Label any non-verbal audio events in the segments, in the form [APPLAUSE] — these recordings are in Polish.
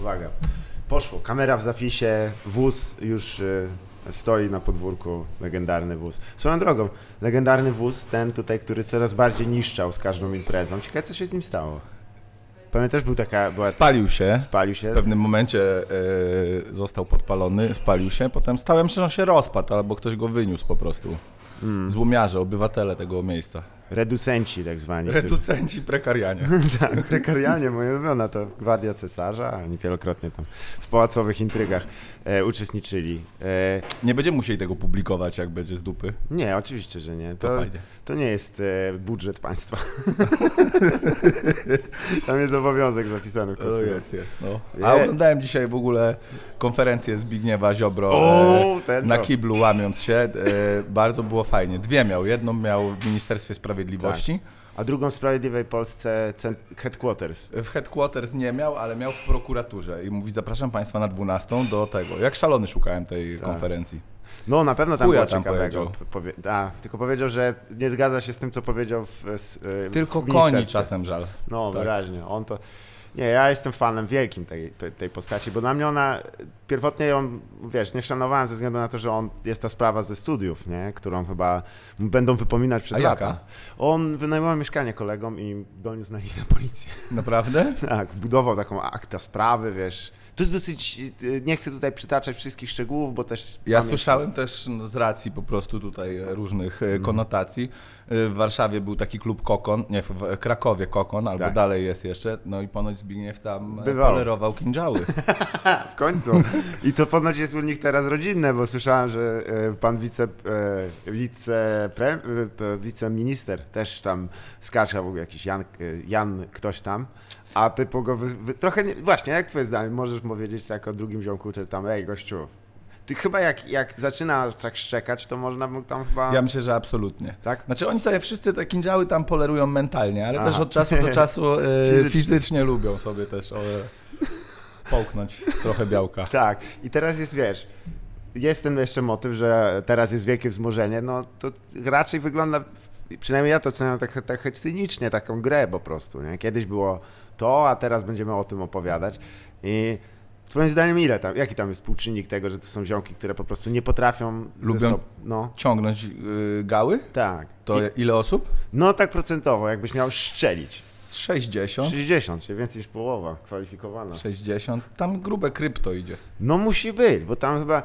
Uwaga. Poszło. Kamera w zapisie, wóz już y, stoi na podwórku. Legendarny wóz. Swoją drogą, legendarny wóz, ten tutaj, który coraz bardziej niszczał z każdą imprezą. Ciekawe, co się z nim stało. Pamiętasz, był taka, była, Spalił się. spalił się. W pewnym momencie e, został podpalony, spalił się, potem stałem się, że on się rozpadł, albo ktoś go wyniósł po prostu. Złomiarze, obywatele tego miejsca. Reducenci tak zwani. [LAUGHS] Reducenci prekarianie. Tak, prekarianie, moja ulubiona to Gwardia Cesarza, oni wielokrotnie tam w pałacowych intrygach e, uczestniczyli. E, Nie będziemy musieli tego publikować, jak będzie z dupy. nie, oczywiście, że nie. To To, fajnie. to nie jest e, budżet państwa. [LAUGHS] tam jest obowiązek zapisany w konstytucji. jest. No. Je- A oglądałem dzisiaj w ogóle konferencję Zbigniewa Ziobro O, e, ten na to. kiblu łamiąc się. E, bardzo było fajnie. Dwie miał. Jedną miał w Ministerstwie Sprawiedliwości. A drugą w Sprawiedliwej Polsce cent- Headquarters. W headquarters nie miał, ale miał w prokuraturze i mówi zapraszam Państwa na 12 do tego. Jak szalony szukałem tej Tak. konferencji. No, na pewno tam Chuja było tam ciekawego. powiedział. Powie- a, tylko powiedział, że nie zgadza się z tym, co powiedział w, s- e, Tylko w koni ministerstwie. czasem żal. No, Tak. wyraźnie. On to. Nie, ja jestem fanem wielkim tej, tej- tej postaci, bo dla mnie ona, pierwotnie ją, wiesz, nie szanowałem ze względu na to, że on jest ta sprawa ze studiów, nie? którą chyba będą wypominać przez A lata. jaka? On wynajmował mieszkanie kolegom i doniósł na nich na policję. [LAUGHS] Naprawdę? Tak, budował taką akta sprawy, wiesz. To jest dosyć, y, nie chcę tutaj przytaczać wszystkich szczegółów, bo też... Ja pamięć słyszałem też no, z racji po prostu tutaj e, różnych e, konotacji. E, W Warszawie był taki klub Kokon, nie, w- w Krakowie Kokon, albo Tak. dalej jest jeszcze. No i ponoć Zbigniew tam e, Bywało. polerował [LAUGHS] kinżały. W końcu. I to ponoć jest u nich teraz rodzinne, bo słyszałem, że e, pan wice, e, wice, pre, e, p- wiceminister też tam skarżał, był jakiś Jan, e, Jan ktoś tam, a ty po go wy, wy, trochę, nie, właśnie, jak twoje zdanie, możesz powiedzieć tak o drugim ziomku, czy tam, ej gościu, ty chyba jak, jak zaczyna tak szczekać, to można mu tam chyba... Ja myślę, że absolutnie. Tak? Znaczy oni sobie wszyscy te kinżały tam polerują mentalnie, ale Aha. też od czasu [LAUGHS] do czasu e, Fizycznie. fizycznie. lubią sobie też e, połknąć trochę białka. Tak, i teraz jest, wiesz, jest ten jeszcze motyw, że teraz jest wielkie wzmożenie, no to raczej wygląda, przynajmniej ja to oceniam tak, tak cynicznie, taką grę po prostu, nie? Kiedyś było to, a teraz będziemy o tym opowiadać i twoim zdaniem ile tam, jaki tam jest współczynnik tego, że to są ziomki, które po prostu nie potrafią ze Lubią- sobą, no, Ciągnąć e, gały? tak. To I, ile osób? no tak procentowo, jakbyś miał szczelić. Z 60. 60, czyli więcej niż połowa kwalifikowana. 60. Tam grube krypto idzie. No musi być, bo tam chyba.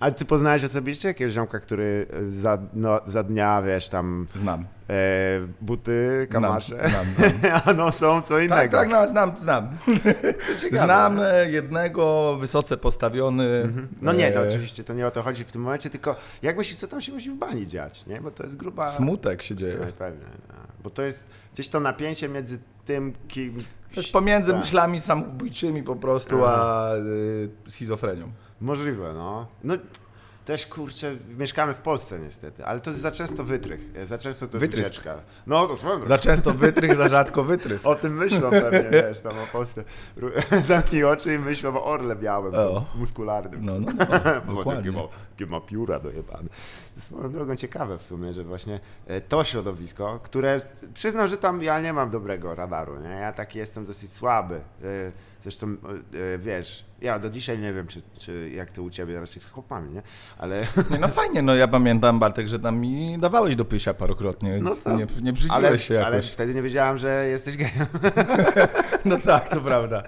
A ty poznałeś osobiście jakiegoś ziomka, który e, za, no, za dnia, wiesz, tam Znam. e, buty, Znam. kamasze, znam, znam. a no są co Tak, [LAUGHS] innego. tak, no, znam, znam. Ciekawe. Znam e, jednego wysoce postawiony. No nie, no e, oczywiście to nie o to chodzi w tym momencie, tylko jak myślisz, co tam się musi w bani dziać, nie? Bo to jest gruba... Smutek się No, dzieje. Pewnie, no. bo to jest gdzieś to napięcie między tym, kim... Też pomiędzy Tak. myślami samobójczymi po prostu, a e, schizofrenią. Możliwe, no. No też kurczę, mieszkamy w Polsce niestety, ale to jest za często wytrych, e, za często to jest Wytrysk. ucieczka. No to swoją drogą. Za często wytrych, za rzadko wytrysk. O tym myślą [LAUGHS] pewnie, wiesz, tam o Polsce. Ru- [LAUGHS] Zamknij oczy i myślą o orle białym, O. tym muskularnym. No, [LAUGHS] no, Bo dokładnie. jakie ma, jakie ma pióra dojebane. Swoją drogą ciekawe w sumie, że właśnie e, to środowisko, które przyznam, że tam ja nie mam dobrego radaru, nie? ja taki jestem dosyć słaby. E, Zresztą, e, e, wiesz, ja do dzisiaj nie wiem, czy, czy jak to u ciebie, raczej z chłopami, nie? Ale, Nie, no fajnie, no ja pamiętam Bartek, że tam mi dawałeś do pysia parokrotnie, No no to- nie, nie brzydziłeś ale, się ale jakoś. wtedy nie wiedziałem, że jesteś gejem. [LAUGHS] [LAUGHS] No tak, to prawda.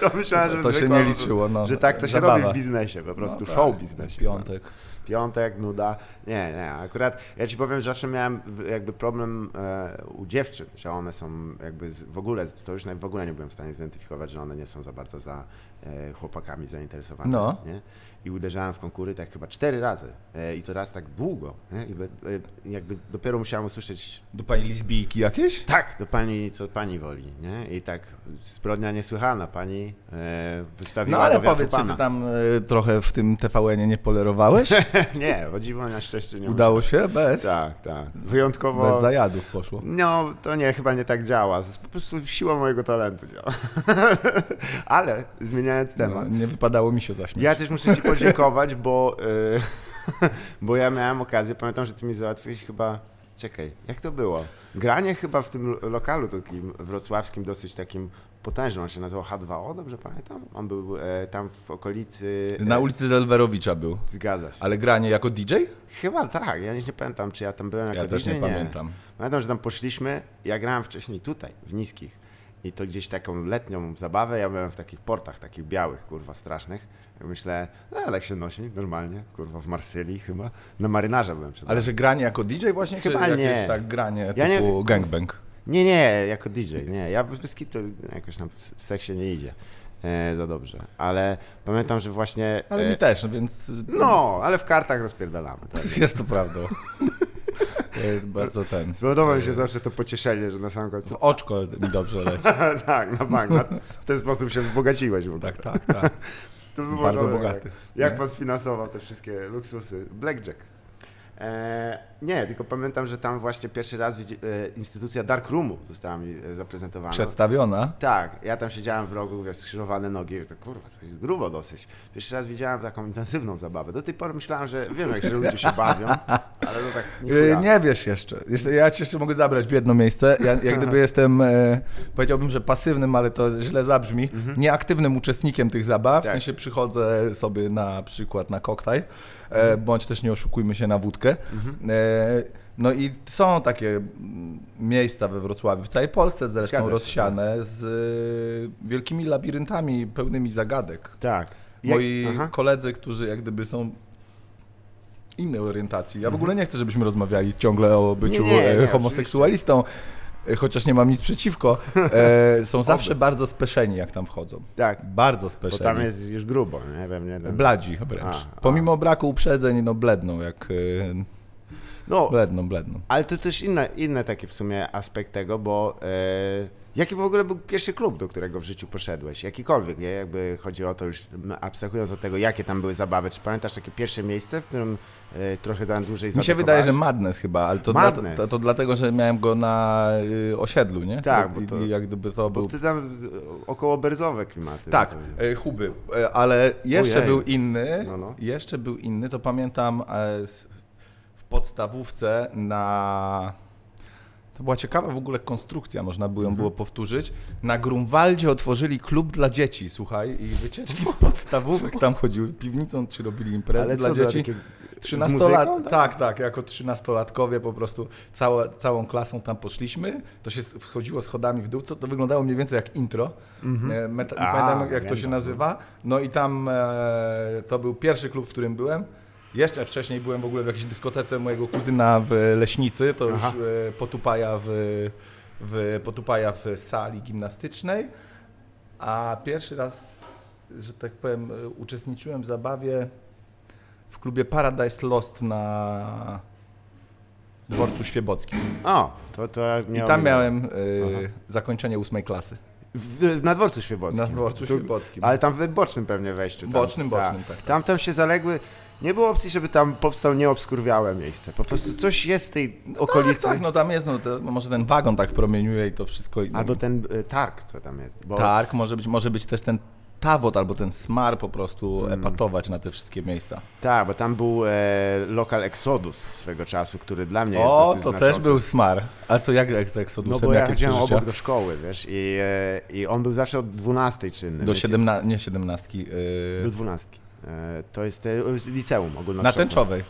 To myślałem, że To się zwykła- nie liczyło, no. Że tak to się Zabawa. robi w biznesie, po prostu No tak, show biznesie. Piątek. Piątek, nuda. Nie, nie, akurat ja ci powiem, że zawsze miałem w- jakby problem e, u dziewczyn, że one są jakby z, w ogóle, z- to już naj- w ogóle nie byłem w stanie zidentyfikować, że one nie są za bardzo za e, chłopakami zainteresowane. No. Nie? I uderzałem w konkury tak chyba cztery razy e, i to raz tak długo. Nie? I be, e, jakby dopiero musiałem usłyszeć Do pani lesbijki jakieś? tak, do pani, co pani woli, nie? I tak zbrodnia niesłychana, pani e, wystawiła No ale do wiatru powiedz, czy pana. ty tam e, trochę w tym tvn nie polerowałeś? [LAUGHS] Nie, o dziwo na szczęście nie tak- Udało się? Bez? Tak, tak. Wyjątkowo... Bez zajadów poszło. No, to nie, chyba nie tak działa. To jest Po prostu siła mojego talentu działa. [LAUGHS] Ale zmieniając temat. No, nie wypadało mi się zaśmiać. Ja też muszę Ci podziękować, bo, y, [LAUGHS] bo ja miałem okazję, pamiętam, że Ty mi załatwiłeś chyba. Czekaj, jak to było? Granie chyba w tym lo- lokalu takim wrocławskim, dosyć takim potężny, on się nazywał H2O, dobrze pamiętam? On był e, tam w okolicy... Na ulicy Zelwerowicza był. Zgadza się. Ale granie jako DJ? Chyba tak, ja nie pamiętam, czy ja tam byłem jako Ja też DJ, nie pamiętam. Pamiętam, że tam poszliśmy, ja grałem wcześniej tutaj, w niskich. I to gdzieś taką letnią zabawę, ja byłem w takich portach, takich białych, kurwa, strasznych. Ja myślę, no ale jak się nosi, normalnie, kurwa, w Marsylii chyba. Na marynarze byłem przed Ale że granie jako DJ właśnie, czy Chyba jakieś nie. tak granie Ja nie- typu gangbang? Nie, nie, jako DJ, nie. Ja bez kitu jakoś tam w w seksie nie idzie e, za dobrze. Ale pamiętam, że właśnie... Ale e, mi też, [LAUGHS] więc No, ale w kartach rozpierdalamy. Tak. jest to prawdą. [LAUGHS] E, Bardzo ten. Spodoba mi się zawsze to pocieszenie, że na samym końcu... [LAUGHS] W oczko mi dobrze leci. tak, na bank. Na, w ten sposób się wzbogaciłeś w ogóle. Tak, tak, tak. To by było Bardzo dobre, bogaty. Jak, jak Nie? pan sfinansował te wszystkie luksusy? Blackjack. E, nie, tylko pamiętam, że tam właśnie pierwszy raz widzi, e, instytucja Dark Roomu została mi e, zaprezentowana. Przedstawiona. Tak, ja tam siedziałem w rogu, wiesz, skrzyżowane nogi, to kurwa, to jest grubo dosyć. Pierwszy raz widziałem taką intensywną zabawę. Do tej pory myślałem, że wiem, jak się ludzie się bawią, ale to tak nie, Y, Nie wiesz jeszcze. Jeszcze- Ja cię jeszcze mogę zabrać w jedno miejsce. Ja jak gdyby jestem, e, powiedziałbym, że pasywnym, ale to źle zabrzmi, nieaktywnym uczestnikiem tych zabaw. Mhm. Tak. W sensie przychodzę sobie na przykład na koktajl, e, Mhm. bądź też nie oszukujmy się na wódkę. E, no i są takie mm, miejsca we Wrocławiu, w całej Polsce zresztą Zgadza się, tak. rozsiane z e, wielkimi labiryntami pełnymi zagadek. Tak. Jak- Moi Aha. koledzy, którzy jak gdyby są innej orientacji. Ja w ogóle nie chcę, żebyśmy rozmawiali ciągle o byciu Mhm. Nie, nie, nie, e, oczywiście. homoseksualistą, e, chociaż nie mam nic przeciwko. [LAUGHS] E, są zawsze bardzo speszeni, jak tam wchodzą. Tak, Bardzo bo speszeni. tam jest już grubo, nie wiem, nie wiem. Bladzi wręcz. A, a. Pomimo braku uprzedzeń, no bledną, jak... e, No, Bledną, bledną. ale to też inne, inne taki w sumie aspekt tego, bo e, jaki w ogóle był pierwszy klub, do którego w życiu poszedłeś? Jakikolwiek, nie? Jakby chodzi o to już, m, abstrahując od tego, jakie tam były zabawy, czy pamiętasz takie pierwsze miejsce, w którym e, trochę tam dłużej Mi się wydaje, że Madness chyba, ale to, Madness. Dla, to, to dlatego, że miałem go na y, osiedlu, nie? Tak, bo I, to- i jak gdyby to Bo był ty tam e, około berzowe klimaty. Tak, e, Huby, e, ale jeszcze Ojej. był inny, No, no. jeszcze był inny, to pamiętam e, s- w podstawówce na... To była ciekawa w ogóle konstrukcja, można by ją Mhm. było powtórzyć. Na Grunwaldzie otworzyli klub dla dzieci, słuchaj, i wycieczki z podstawówek tam chodziły piwnicą, czy robili imprezy Ale dla co, dzieci. Takie... Trzynastolat... Z muzyką, Tak, tak, jako trzynastolatkowie po prostu cała, całą klasą tam poszliśmy, to się s- wchodziło schodami w dół, co to wyglądało mniej więcej jak intro, E, meta... A, nie pamiętam jak to pamiętam, się no. nazywa, no i tam e, to był pierwszy klub, w którym byłem, jeszcze wcześniej byłem w ogóle w jakiejś dyskotece mojego kuzyna w Leśnicy, to Aha. już e, potupaja w, w, potupaja w sali gimnastycznej, a pierwszy raz, że tak powiem, e, uczestniczyłem w zabawie w klubie Paradise Lost na dworcu świebockim. O, to, to ja I miałem... tam miałem y, Aha. zakończenie ósmej klasy. W, na dworcu świebockim. Na dworcu Tu- świebockim. Ale tam w bocznym pewnie wejściu. Tam, Bocznym, bocznym, tak, tak. Tam, tam się zaległy... Nie było opcji, żeby tam powstał nieobskurwiałe miejsce. Po prostu coś jest w tej okolicy. Tak, no tam jest, no to, może ten wagon tak promieniuje i to wszystko. i- no Albo ten y, targ, co tam jest. Bo Targ, Tak, może być, może być też ten tawot albo ten smar po prostu Hmm. epatować na te wszystkie miejsca. Tak, bo tam był e, lokal Exodus swego czasu, który dla mnie jest o, to dosyć też znaczący. był smar. A co, jak jak z No Exodusem, bo ja jakie chodziłem przeżycia? obok do szkoły, wiesz, i, e, i on był zawsze od 12 czynny. Do więc- siedemna... nie siedemnastki, y, Do dwunastki. E, To jest e, liceum na ogólnokształcące. tęczowej.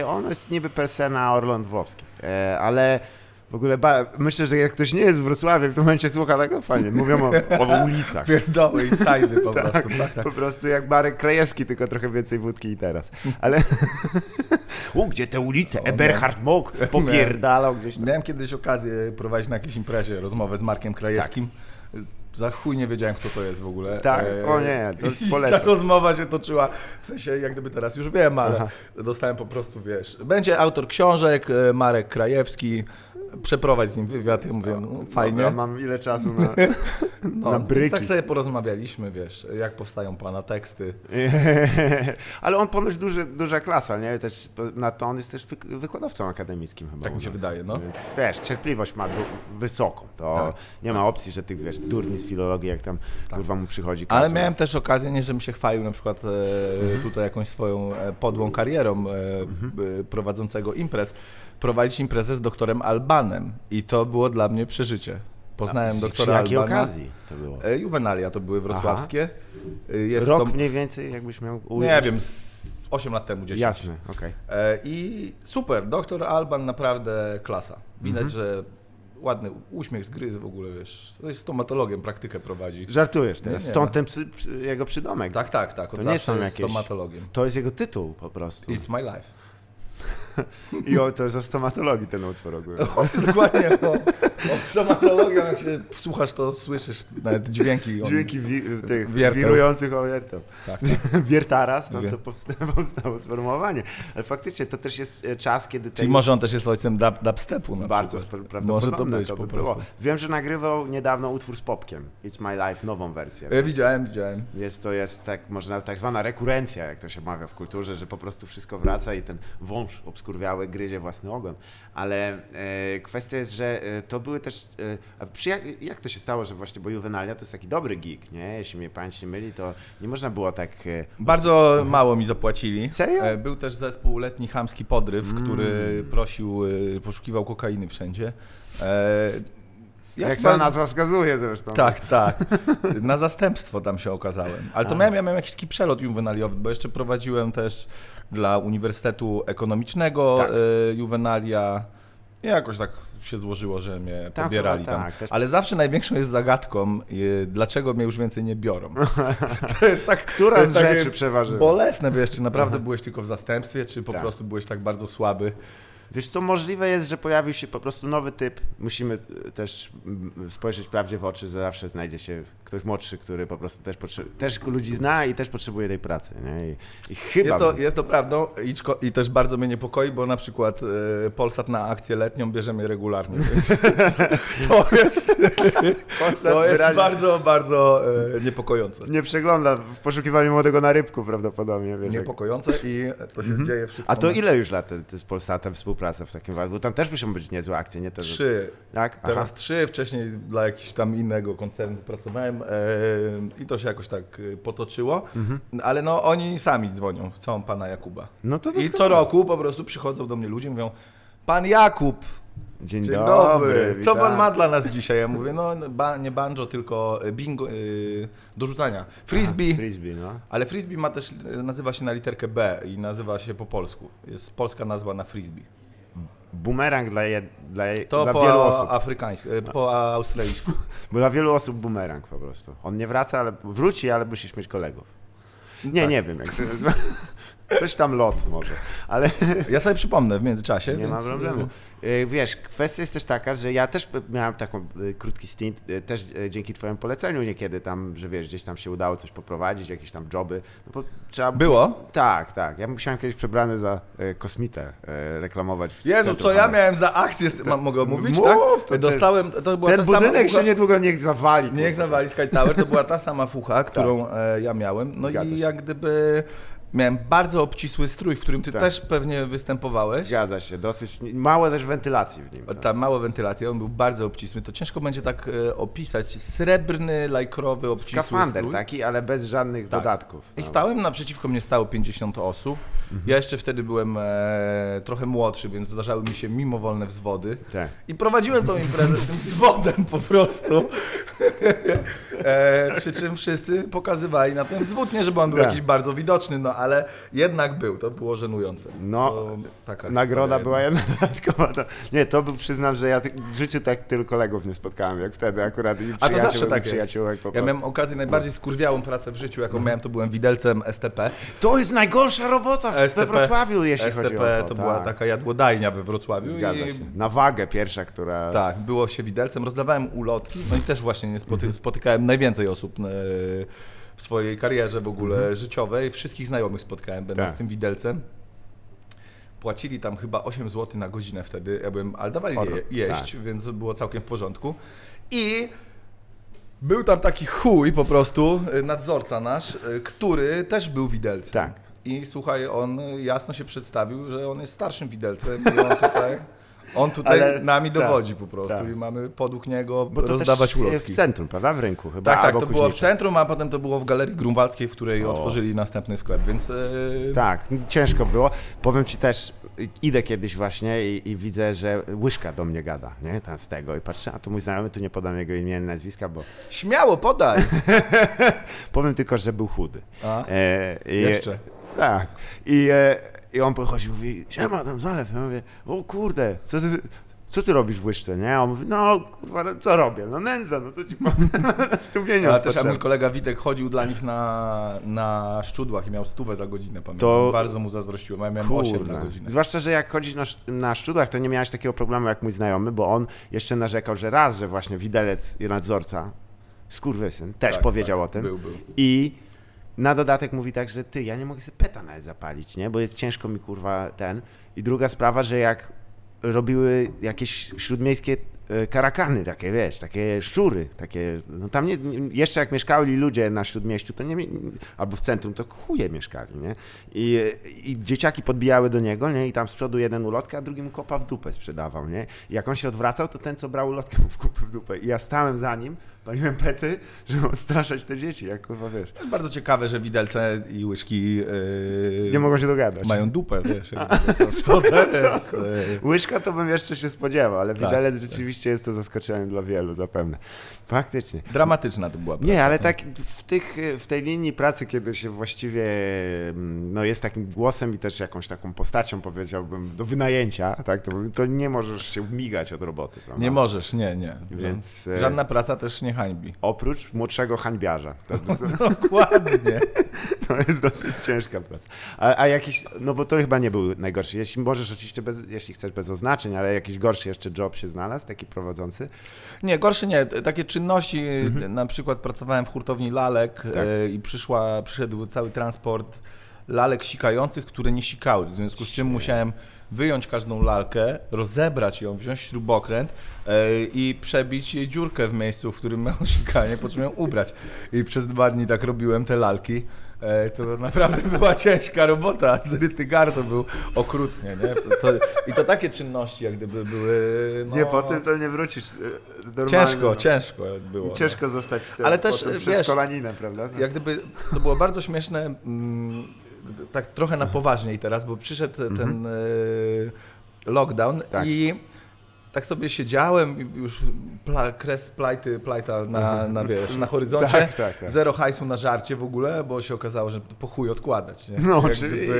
E, Ono jest niby per se na Orląt Włowskich, E, ale w ogóle ba- myślę, że jak ktoś nie jest w Wrocławiu, w tym momencie słucha tego, fajnie, mówią o, o ulicach. Pierdoły i sajdy po prostu. [LAUGHS] Tak, tak. Tak. Po prostu jak Marek Krajewski, tylko trochę więcej wódki i teraz. Ale... U, gdzie te ulice? O, Eberhard Mock popierdalał gdzieś tam. Miałem kiedyś okazję prowadzić na jakiejś imprezie rozmowę z Markiem Krajewskim. Za chuj nie wiedziałem, kto to jest w ogóle. Tak, E, o nie, to i tak polecam. Ta rozmowa się toczyła, w sensie jak gdyby teraz już wiem, ale Aha. dostałem po prostu, wiesz, będzie autor książek, e, Marek Krajewski, przeprowadź z nim wywiad, ja mówię, no, fajnie. Dobra, mam ile czasu na... [LAUGHS] no, na więc bryki. Tak sobie porozmawialiśmy, wiesz, jak powstają pana teksty. [LAUGHS] Ale on ponoć duży, duża klasa, nie? Też, na to on jest też wyk- wykładowcą akademickim chyba. Tak u mi się nas. wydaje, no. Tak. Więc wiesz, cierpliwość ma du- wysoką. To nie ma opcji, że tych wiesz, durni z filologii, jak tam kurwa mu przychodzi klasa. Ale miałem też okazję, nie żebym się chwalił na przykład e, Mhm. tutaj jakąś swoją e, podłą karierą e, e, prowadzącego imprez, prowadzić imprezę z doktorem Albanem i to było dla mnie przeżycie. Poznałem Z- Przy doktora jakiej Albana. okazji to było? E, Juvenalia to były wrocławskie. E, Jest Rok to- mniej więcej, jakbyś miał ująć? Nie wiem, z 8 lat temu, 10. Jasne, okej. E, I super, doktor Alban naprawdę klasa. Widać, Mhm. że ładny uśmiech z gry w ogóle, wiesz. To jest stomatologiem, praktykę prowadzi. Żartujesz teraz. Nie, nie. Stąd ten psy, przy, jego przydomek. Tak, tak, tak. To Od nie zawsze są jest jakieś- stomatologiem. To jest jego tytuł po prostu. It's my life. [LAUGHS] I o, to jest o stomatologii ten utwór [LAUGHS] ogólnie. Dokładnie, bo od stomatologia, jak się słuchasz, to słyszysz nawet dźwięki. On... Dźwięki wi- tych Wierteł. wirujących owertów. Tak. [LAUGHS] Wiertaras, no Wie- to powsta- powstało [LAUGHS] sformułowanie. Ale faktycznie to też jest e, czas, kiedy Czyli ten może on też jest ojcem dub, dubstepu na bardzo przykład. spra- Może prawdopodobne to być to by po było. prostu. Wiem, że nagrywał niedawno utwór z Popkiem, It's My Life, nową wersję. Ja E, widziałem, widziałem. Jest to jest tak, można, tak zwana rekurencja, jak to się mawia w kulturze, że po prostu wszystko wraca i ten wąż obskurwiały gryzie własny ogon. Ale e, kwestia jest, że e, to były też. E, a przy, jak, jak to się stało, że właśnie, bo Juvenalia to jest taki dobry gig, nie? Jeśli mnie pan się myli, to nie można było tak. E, Bardzo mało mi zapłacili. Serio? Mm. E, Był też zespół letni Chamski Podryw, który prosił, e, poszukiwał kokainy wszędzie. E, jak pan- sama nazwa wskazuje zresztą. Tak, [LAUGHS] tak. Na zastępstwo tam się okazałem. Ale to miałem, ja miałem jakiś taki przelot juwenaliowy, bo jeszcze prowadziłem też dla Uniwersytetu Ekonomicznego Tak. e, juwenalia. I jakoś tak się złożyło, że mnie Tam pobierali chyba tam. tak, też- Ale zawsze największą jest zagadką, e, dlaczego mnie już więcej nie [LAUGHS] biorą. To jest tak, Która to jest z takie rzeczy przeważyła? Bolesne wiesz, czy naprawdę byłeś tylko w zastępstwie, czy po Tak. prostu byłeś tak bardzo słaby. Wiesz co, możliwe jest, że pojawił się po prostu nowy typ. Musimy e, też mm, spojrzeć prawdzie w oczy, że zawsze znajdzie się ktoś młodszy, który po prostu też, potrze- też ludzi zna i też potrzebuje tej pracy. Nie? I, I chyba... Jest to, jest to prawdą i, czko- i też bardzo mnie niepokoi, bo na przykład e, Polsat na akcję letnią [LAUGHS] bierzemy regularnie, więc to jest, to [LAUGHS] jest wyraźnie bardzo, bardzo e, niepokojące. Nie przegląda w poszukiwaniu młodego na rybku prawdopodobnie. Wiesz, jak- Niepokojące i to się dzieje wszystko. Mhm. A to na- ile już lat ty- ty z Polsatem współpraca w takim wypadku? Tam też muszą być niezłe akcje, nie? Te, że- Trzy. Tak? Aha. Teraz trzy, wcześniej dla jakiegoś tam innego koncernu pracowałem e, i to się jakoś tak e, potoczyło, Mhm. ale no oni sami dzwonią, chcą pana Jakuba. No to I doskonale. co roku po prostu przychodzą do mnie ludzie i mówią, pan Jakub, Dzień, Dzień dobry. dobry. Co witam. pan ma dla nas dzisiaj? Ja mówię, no ba, nie banjo, tylko y, bingo, y, do rzucania. Frisbee. Frisbee, no. ale frisbee ma też, y, nazywa się na literkę B i nazywa się po polsku. Jest polska nazwa na frisbee. Bumerang dla, je, dla, je, To dla po wielu osób. afrykańsku, y, po australijsku. Bo dla wielu osób bumerang po prostu. On nie wraca, ale wróci, ale musisz mieć kolegów. Nie, Tak. nie wiem. Jak to nazywa. [LAUGHS] Coś tam lot może, ale Ja sobie przypomnę w międzyczasie. nie więc, ma problemu. y, Y, Wiesz, kwestia jest też taka, że ja też miałem taką y, krótki stint, y, też y, dzięki twojemu poleceniu niekiedy tam, że wiesz, gdzieś tam się udało coś poprowadzić, jakieś tam joby. No bo trzeba... Było? Tak, tak. Ja musiałem kiedyś przebrany za y, kosmitę y, reklamować. W Jezu, centrum co ja handlu. miałem za akcję, z- ma, mogę mówić, Mów, to tak? ten- Dostałem, to była Ten ta sama budynek fucha- się niedługo niech zawali. Niech kurwa. zawali Sky Tower, to była ta sama fucha, którą e, ja miałem. No Tak. Zgadza się. i jak gdyby miałem bardzo obcisły strój, w którym ty Tak. też pewnie występowałeś. Zgadza się, dosyć mało też wentylacji w nim. tak. Ta mała wentylacja, on był bardzo obcisły, to ciężko będzie tak e, opisać. Srebrny, lajkrowy, obcisły Skafander tak? strój. taki, ale bez żadnych Tak. dodatków. I No. stałem, naprzeciwko mnie stało 50 osób. Mhm. Ja jeszcze wtedy byłem e, trochę młodszy, więc zdarzały mi się mimowolne wzwody. Tak. I prowadziłem tą imprezę z tym zwodem po prostu. e, przy czym wszyscy pokazywali na ten zwód, nie żeby on był Tak. jakiś bardzo widoczny, no ale jednak był, to było żenujące. No, To taka Nagroda historia była jedna [LAUGHS] dodatkowa. No, nie, to był, przyznam, że ja ty- w życiu tak tylu kolegów nie spotkałem, jak wtedy akurat. I A to przyjaciół, zawsze i tak jest. przyjaciółek po Ja prostu. Mhm. miałem okazję najbardziej skurwiałą pracę w życiu, jaką miałem, to byłem widelcem STP. To jest najgorsza robota w we STP, Wrocławiu, jeśli chodzi o STP to. to była tak. taka jadłodajnia we Wrocławiu Zgadza i się. Na wagę pierwsza, która... Tak, było się widelcem, rozdawałem ulotki, no i też właśnie nie Mhm. spoty- spotykałem najwięcej osób e, w swojej karierze w ogóle życiowej. Wszystkich znajomych spotkałem będąc Mhm. Tak. tym widelcem. Płacili tam chyba 8 zł na godzinę wtedy, ja byłem, ale dawali Horror. je, jeść, Tak. więc było całkiem w porządku. I był tam taki chuj po prostu, e, nadzorca nasz, e, który też był widelcem. Tak. I słuchaj, on jasno się przedstawił, że on jest starszym widelcem i on tutaj... On [LAUGHS] tutaj Ale- nami tak, dowodzi po prostu tak. i mamy podług niego Bo to rozdawać też ulotki. w centrum, prawda? W rynku chyba. Tak, tak, albo to było w Kuźnicza. centrum, a potem to było w Galerii Grunwaldzkiej, w której O. otworzyli następny sklep, więc... e, Tak, ciężko było. Powiem ci też, idę kiedyś właśnie i, i widzę, że łyżka do mnie gada, nie? Tam z tego i patrzę, a tu mój znajomy, tu nie podam jego imienia, nazwiska, bo Śmiało, [LAUGHS] podaj! powiem tylko, że był chudy. A, E, i, jeszcze. Tak. I, e, I on podchodzi i mówi, siema tam zalew. Ja mówię, o kurde, co ty, co ty robisz w łyżce, nie? A on mówi, no kurwa, no co robię? No nędza, no co ci powiem? [LAUGHS] Z tym pieniądz Ale też a potrzebny. mój kolega Witek chodził dla nich na, na szczudłach i miał stówę za godzinę, pamiętam. To- Bardzo mu zazdrościłem, a ja miałem 8 na Kurde. godzinę. Zwłaszcza, że jak chodzisz na, sz- na szczudłach, to nie miałeś takiego problemu jak mój znajomy, bo on jeszcze narzekał, że raz, że właśnie widelec i nadzorca, skurwysyn, też Tak, powiedział tak, o tym. Był, był. I na dodatek mówi tak, że ty, ja nie mogę sobie peta nawet zapalić, nie? Bo jest ciężko mi kurwa ten. I druga sprawa, że jak robiły jakieś śródmiejskie e, karakany, takie wiesz, takie szczury, takie, no tam nie, nie- jeszcze jak mieszkali ludzie na Śródmieściu, to nie, mie- albo w centrum, to chuje mieszkali, nie? I, I dzieciaki podbijały do niego, nie? I tam z przodu jeden ulotkę, a drugi mu kopa w dupę sprzedawał, nie? I jak on się odwracał, to ten, co brał ulotkę, mu w kupę w dupę. I ja stałem za nim, paliłem pety, żeby odstraszać te dzieci, jak kurwa, wiesz. To jest Bardzo ciekawe, że widelce i łyżki yy, Nie mogą się dogadać. mają dupę, [LAUGHS] wiesz. jakby To, to, to jest, yy, Łyżka to bym jeszcze się spodziewał, ale widelec tak. rzeczywiście jest to zaskoczeniem dla wielu, zapewne. Faktycznie. dramatyczna to była praca. Nie, ale tak w, tych, w tej linii pracy, kiedy się właściwie mm, no jest takim głosem i też jakąś taką postacią, powiedziałbym, do wynajęcia, tak, to, to nie możesz się migać od roboty. Prawda? Nie możesz, nie, nie. Więc, Żad- e, Żadna praca też nie hańbi. [LAUGHS] Oprócz młodszego hańbiarza. To, to, Dokładnie. [LAUGHS] to jest dosyć ciężka praca. A, a jakiś, no bo to chyba nie był najgorszy. Jeśli możesz oczywiście, bez, jeśli chcesz, bez oznaczeń, ale jakiś gorszy jeszcze job się znalazł, taki prowadzący. Nie, gorszy nie. Takie czynności, Mhm. na przykład pracowałem w hurtowni lalek Tak. e, i przyszła, przyszedł cały transport lalek sikających, które nie sikały, w związku z czym musiałem wyjąć każdą lalkę, rozebrać ją, wziąć śrubokręt e, i przebić jej dziurkę w miejscu, w którym miało [LAUGHS] sikanie, po czym ją ubrać. I przez dwa dni tak robiłem te lalki. E, To naprawdę [LAUGHS] była ciężka robota, zryty gardło był okrutnie, nie? To, to, I to takie czynności jak gdyby były... No, Nie, po tym to nie wrócisz. e, Normalnie, Ciężko, no. ciężko było. Ciężko zostać tym, Ale też, potem wiesz, przedszkolaninem, prawda? Tak. No. Jak gdyby to było bardzo śmieszne, mm, tak trochę na poważniej teraz, bo przyszedł ten e, lockdown Mhm. Tak. i tak sobie siedziałem, i już pla, kres plajty, plajta na, na, wiesz, na horyzoncie, Mhm. Tak, tak, tak. zero hajsu na żarcie w ogóle, bo się okazało, że po chuj odkładać. Nie? No, Jak oczywiście.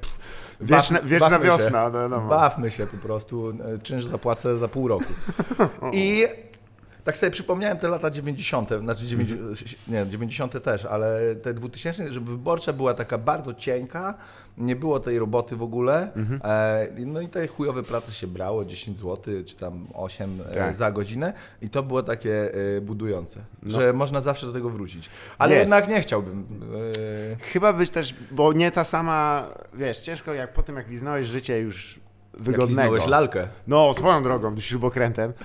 pff, Wieczna, baw- wieczna bawmy się. wiosna. No, no, Bawmy się po prostu, e, czynsz zapłacę za [LAUGHS] pół roku. I tak sobie przypomniałem te lata 90., znaczy Mhm. 90, nie, 90 też, ale te 2000, że wyborcza była taka bardzo cienka, nie było tej roboty w ogóle. Mhm. E, no i te chujowe prace się brało, 10 zł czy tam 8 e, Tak. No. za godzinę i to było takie e, budujące, że można zawsze do tego wrócić. Ale Jest. jednak nie chciałbym. E, Chyba być też, bo nie ta sama, wiesz, ciężko jak po tym, jak liznąłeś życie już jak wygodnego. liznąłeś lalkę. no, swoją drogą, śrubokrętem. [LAUGHS]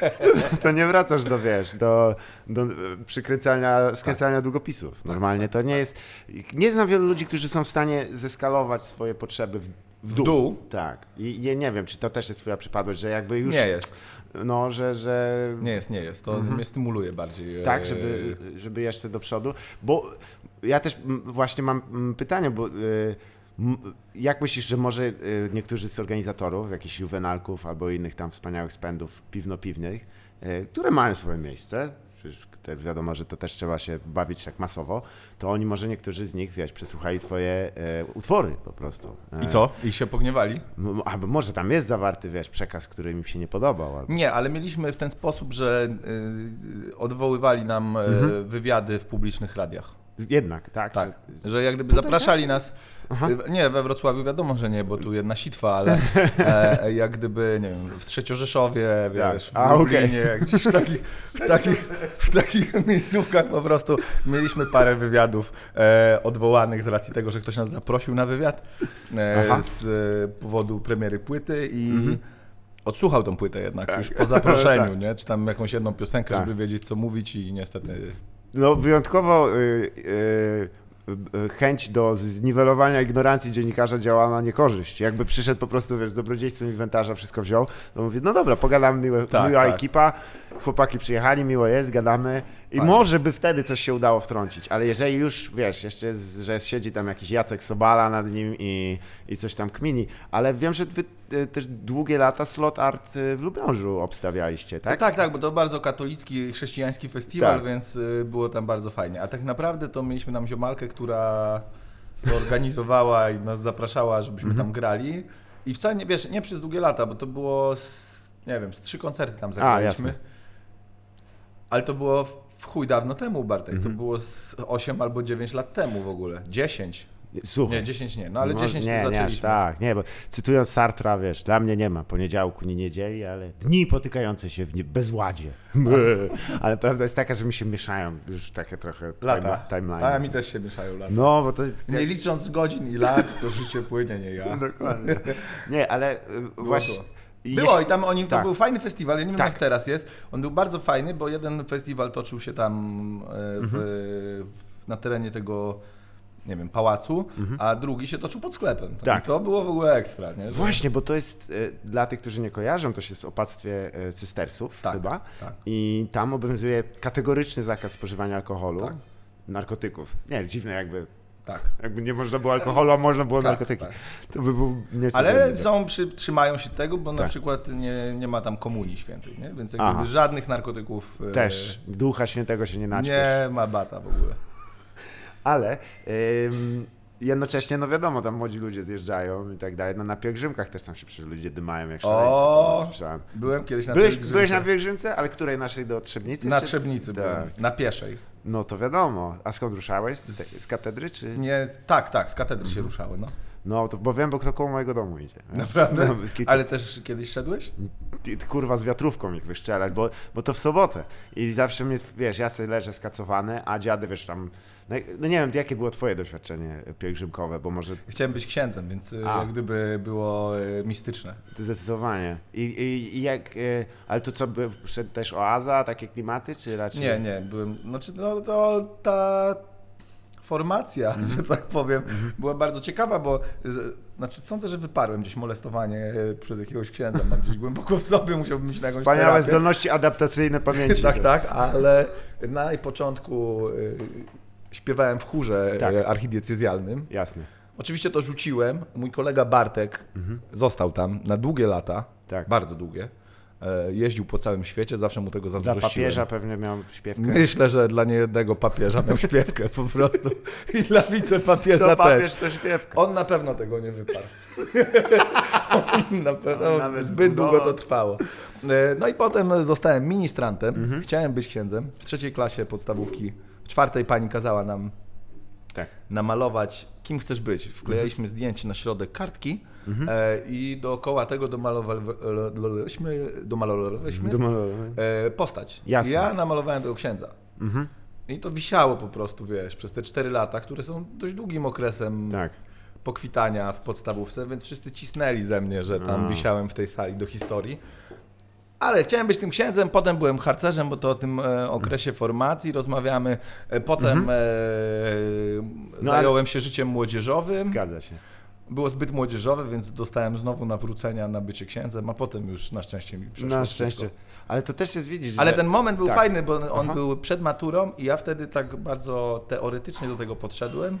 To, to nie wracasz do, wiesz, do, do e, przykręcania, Tak. skręcania długopisów. Normalnie to nie jest... Nie znam wielu ludzi, którzy są w stanie zeskalować swoje potrzeby w, w dół. dół? Tak. I nie, nie wiem, czy to też jest twoja przypadłość, że jakby już... Nie jest, No, że... że nie jest, nie jest. To mnie stymuluje bardziej. e, Tak, żeby, żeby jeszcze do przodu. Bo ja też mm, właśnie mam mm, pytanie, bo y, m- jak myślisz, że może y, niektórzy z organizatorów, jakichś juwenalków albo innych tam wspaniałych spędów piwno-piwnych, y, które mają swoje miejsce, przecież też wiadomo, że to też trzeba się bawić tak masowo, to oni może niektórzy z nich, wiesz, przesłuchali twoje y, utwory po prostu. E, I co? E, I się pogniewali? M- Albo może tam jest zawarty, wiesz, przekaz, który im się nie podobał. Albo... Nie, ale mieliśmy w ten sposób, że y, odwoływali nam y, wywiady w publicznych radiach. Jednak, tak? Tak, Że- tak? że jak gdyby zapraszali nas. y, Nie, we Wrocławiu wiadomo, że nie, bo tu jedna sitwa, ale [LAUGHS] e, jak gdyby, nie wiem, w Trzeciorzeszowie, Tak. wiesz, w A, okej. Lublinie, gdzieś w takich, w, takich, w takich [LAUGHS] miejscówkach po prostu mieliśmy parę wywiadów e, odwołanych z racji tego, że ktoś nas zaprosił na wywiad Aha. Mhm. e, z e, powodu premiery płyty i odsłuchał tą płytę jednak już po zaproszeniu, [LAUGHS] Tak. nie? Czy tam jakąś jedną piosenkę, Tak. żeby wiedzieć, co mówić i niestety... No wyjątkowo No, y, y, e, chęć do z- zniwelowania ignorancji dziennikarza działa na niekorzyść. Jakby przyszedł po prostu, wiesz, z dobrodziejstwem inwentarza, wszystko wziął, to mówię, no dobra, pogadamy, miłe, Tak, miła tak. ekipa, chłopaki przyjechali, miło jest, gadamy i Fajnie. może by wtedy coś się udało wtrącić, ale jeżeli już, wiesz, jeszcze, z, że siedzi tam jakiś Jacek Sobala nad nim i, i coś tam kmini, ale wiem, że wy e, też długie lata slot art e, w Lublążu obstawialiście, Tak? tak? tak, tak, bo to bardzo katolicki, chrześcijański festiwal, Tak. więc y, było tam bardzo fajnie. A tak naprawdę to mieliśmy tam ziomalkę, która to organizowała i nas zapraszała, żebyśmy Mhm. tam grali. I wcale nie, wiesz, nie przez długie lata, bo to było, z, nie wiem, z trzy koncerty tam zagraliśmy. jasne. Ale to było w- w chuj dawno temu, Bartek. Mhm. To było z 8 albo 9 lat temu w ogóle. 10. Słuchaj. Nie, 10 nie, no ale Może- 10 nie, to nie, aż zaczęliśmy. tak, nie, bo cytując Sartra, wiesz, dla mnie nie ma poniedziałku, nie niedzieli, ale dni potykające się w nie- [LAUGHS] bezładzie. ale prawda jest taka, że mi się mieszają już takie trochę Lata. time- timeline. A mi też się mieszają lata. No, bo to jest... Nie licząc godzin i lat, to życie płynie, nie [LAUGHS] ja. Dokładnie. Nie, ale y, właśnie... było. i Było jeśli- i tam oni, to tak. był fajny festiwal, ja nie wiem Tak. jak teraz jest. On był bardzo fajny, bo jeden festiwal toczył się tam e, Mhm. w, w, na terenie tego, nie wiem, pałacu, a drugi się toczył pod sklepem. Mhm. Tak. I to było w ogóle ekstra, nie? Że- Właśnie, bo to jest, y, dla tych, którzy nie kojarzą, to się jest opactwie y, cystersów Tak, chyba tak. i tam obowiązuje kategoryczny zakaz spożywania alkoholu, Tak. narkotyków. Nie, dziwne jakby Tak. Jakby nie można było alkoholu, a można było Tak, narkotyki. tak. To by był nieco Ale dziwny. są, przy, trzymają się tego, bo na Tak. przykład nie, nie ma tam komunii świętej, nie? Więc Aha. jakby żadnych narkotyków e, Też ducha świętego się nie naćpiesz. nie ma bata w ogóle. Ale ym, jednocześnie, no wiadomo, tam młodzi ludzie zjeżdżają i tak dalej. No na pielgrzymkach też tam się przecież ludzie dymają jak szaleńcy. O! to Słyszałem. Byłem kiedyś na Byłeś, pielgrzymce. byłeś na pielgrzymce? Ale której naszej do Trzebnicy? Na czy- Trzebnicy Tak. byłem, na Pieszej. No to wiadomo. A skąd ruszałeś? Z, z katedry czy? Nie, tak, tak, z katedry się ruszały, no. No, to, bo wiem, bo kto koło mojego domu idzie. Naprawdę? No, z kit- Ale też kiedyś szedłeś? ty, ty, kurwa z wiatrówką ich wyszczelać, bo, bo to w sobotę. I zawsze mnie, wiesz, ja sobie leżę skacowany, a dziady, wiesz, tam... No, no nie wiem, jakie było twoje doświadczenie e, pielgrzymkowe, bo może Chciałem być księdzem, więc y, A. jak gdyby było y, mistyczne. ty zdecydowanie. I, i, i jak... e, Ale to co, by- przed też oaza, takie klimaty, czy raczej... Nie, nie, byłem, znaczy no to ta formacja, [LAUGHS] Mhm. że tak powiem, była bardzo ciekawa, bo z, znaczy sądzę, że wyparłem gdzieś molestowanie y, przez jakiegoś księdza, mam gdzieś głęboko w sobie, musiałbym iść na jakąś Wspaniałe terapię. zdolności adaptacyjne pamięci. [LAUGHS] tak, tak, ale na początku y, śpiewałem w chórze Tak. y, archidiecezjalnym. Jasne, Oczywiście to rzuciłem. Mój kolega Bartek został tam na długie lata, tak. bardzo długie. E, Jeździł po całym świecie, zawsze mu tego Dla zazdrościłem. papieża pewnie miał śpiewkę. [LAUGHS] Myślę, że dla niejednego papieża miał śpiewkę po prostu [LAUGHS] i dla wicepapieża Co papież też. to śpiewka. On na pewno tego [LAUGHS] nie wyparł. On na On pewno nawet zbyt zbudował. długo to trwało. E, No i potem zostałem ministrantem. Mhm. Chciałem być księdzem. W trzeciej klasie podstawówki, w czwartej pani kazała nam Tak. Mhm. namalować, kim chcesz być. Wklejaliśmy zdjęcie na środek kartki e, i dookoła tego domalowaliśmy, domalowaliśmy Dumalowe. e, postać. Jasne. Mhm. Ja namalowałem tego księdza. I to wisiało po prostu, wiesz, przez te 4 lata, które są dość długim okresem Tak. pokwitania w podstawówce, więc wszyscy cisnęli ze mnie, że tam A. wisiałem w tej sali do historii. Ale chciałem być tym księdzem, potem byłem harcerzem, bo to o tym e, okresie formacji rozmawiamy. E, potem e, Mhm. No, ale- zająłem się życiem młodzieżowym. Zgadza się. Było zbyt młodzieżowe, więc dostałem znowu nawrócenia na bycie księdzem, a potem już na szczęście mi przeszło Na wszystko. szczęście. Ale to też jest widzieć, Ale że... ten moment był tak. fajny, bo on Aha. był przed maturą i ja wtedy tak bardzo teoretycznie do tego podszedłem.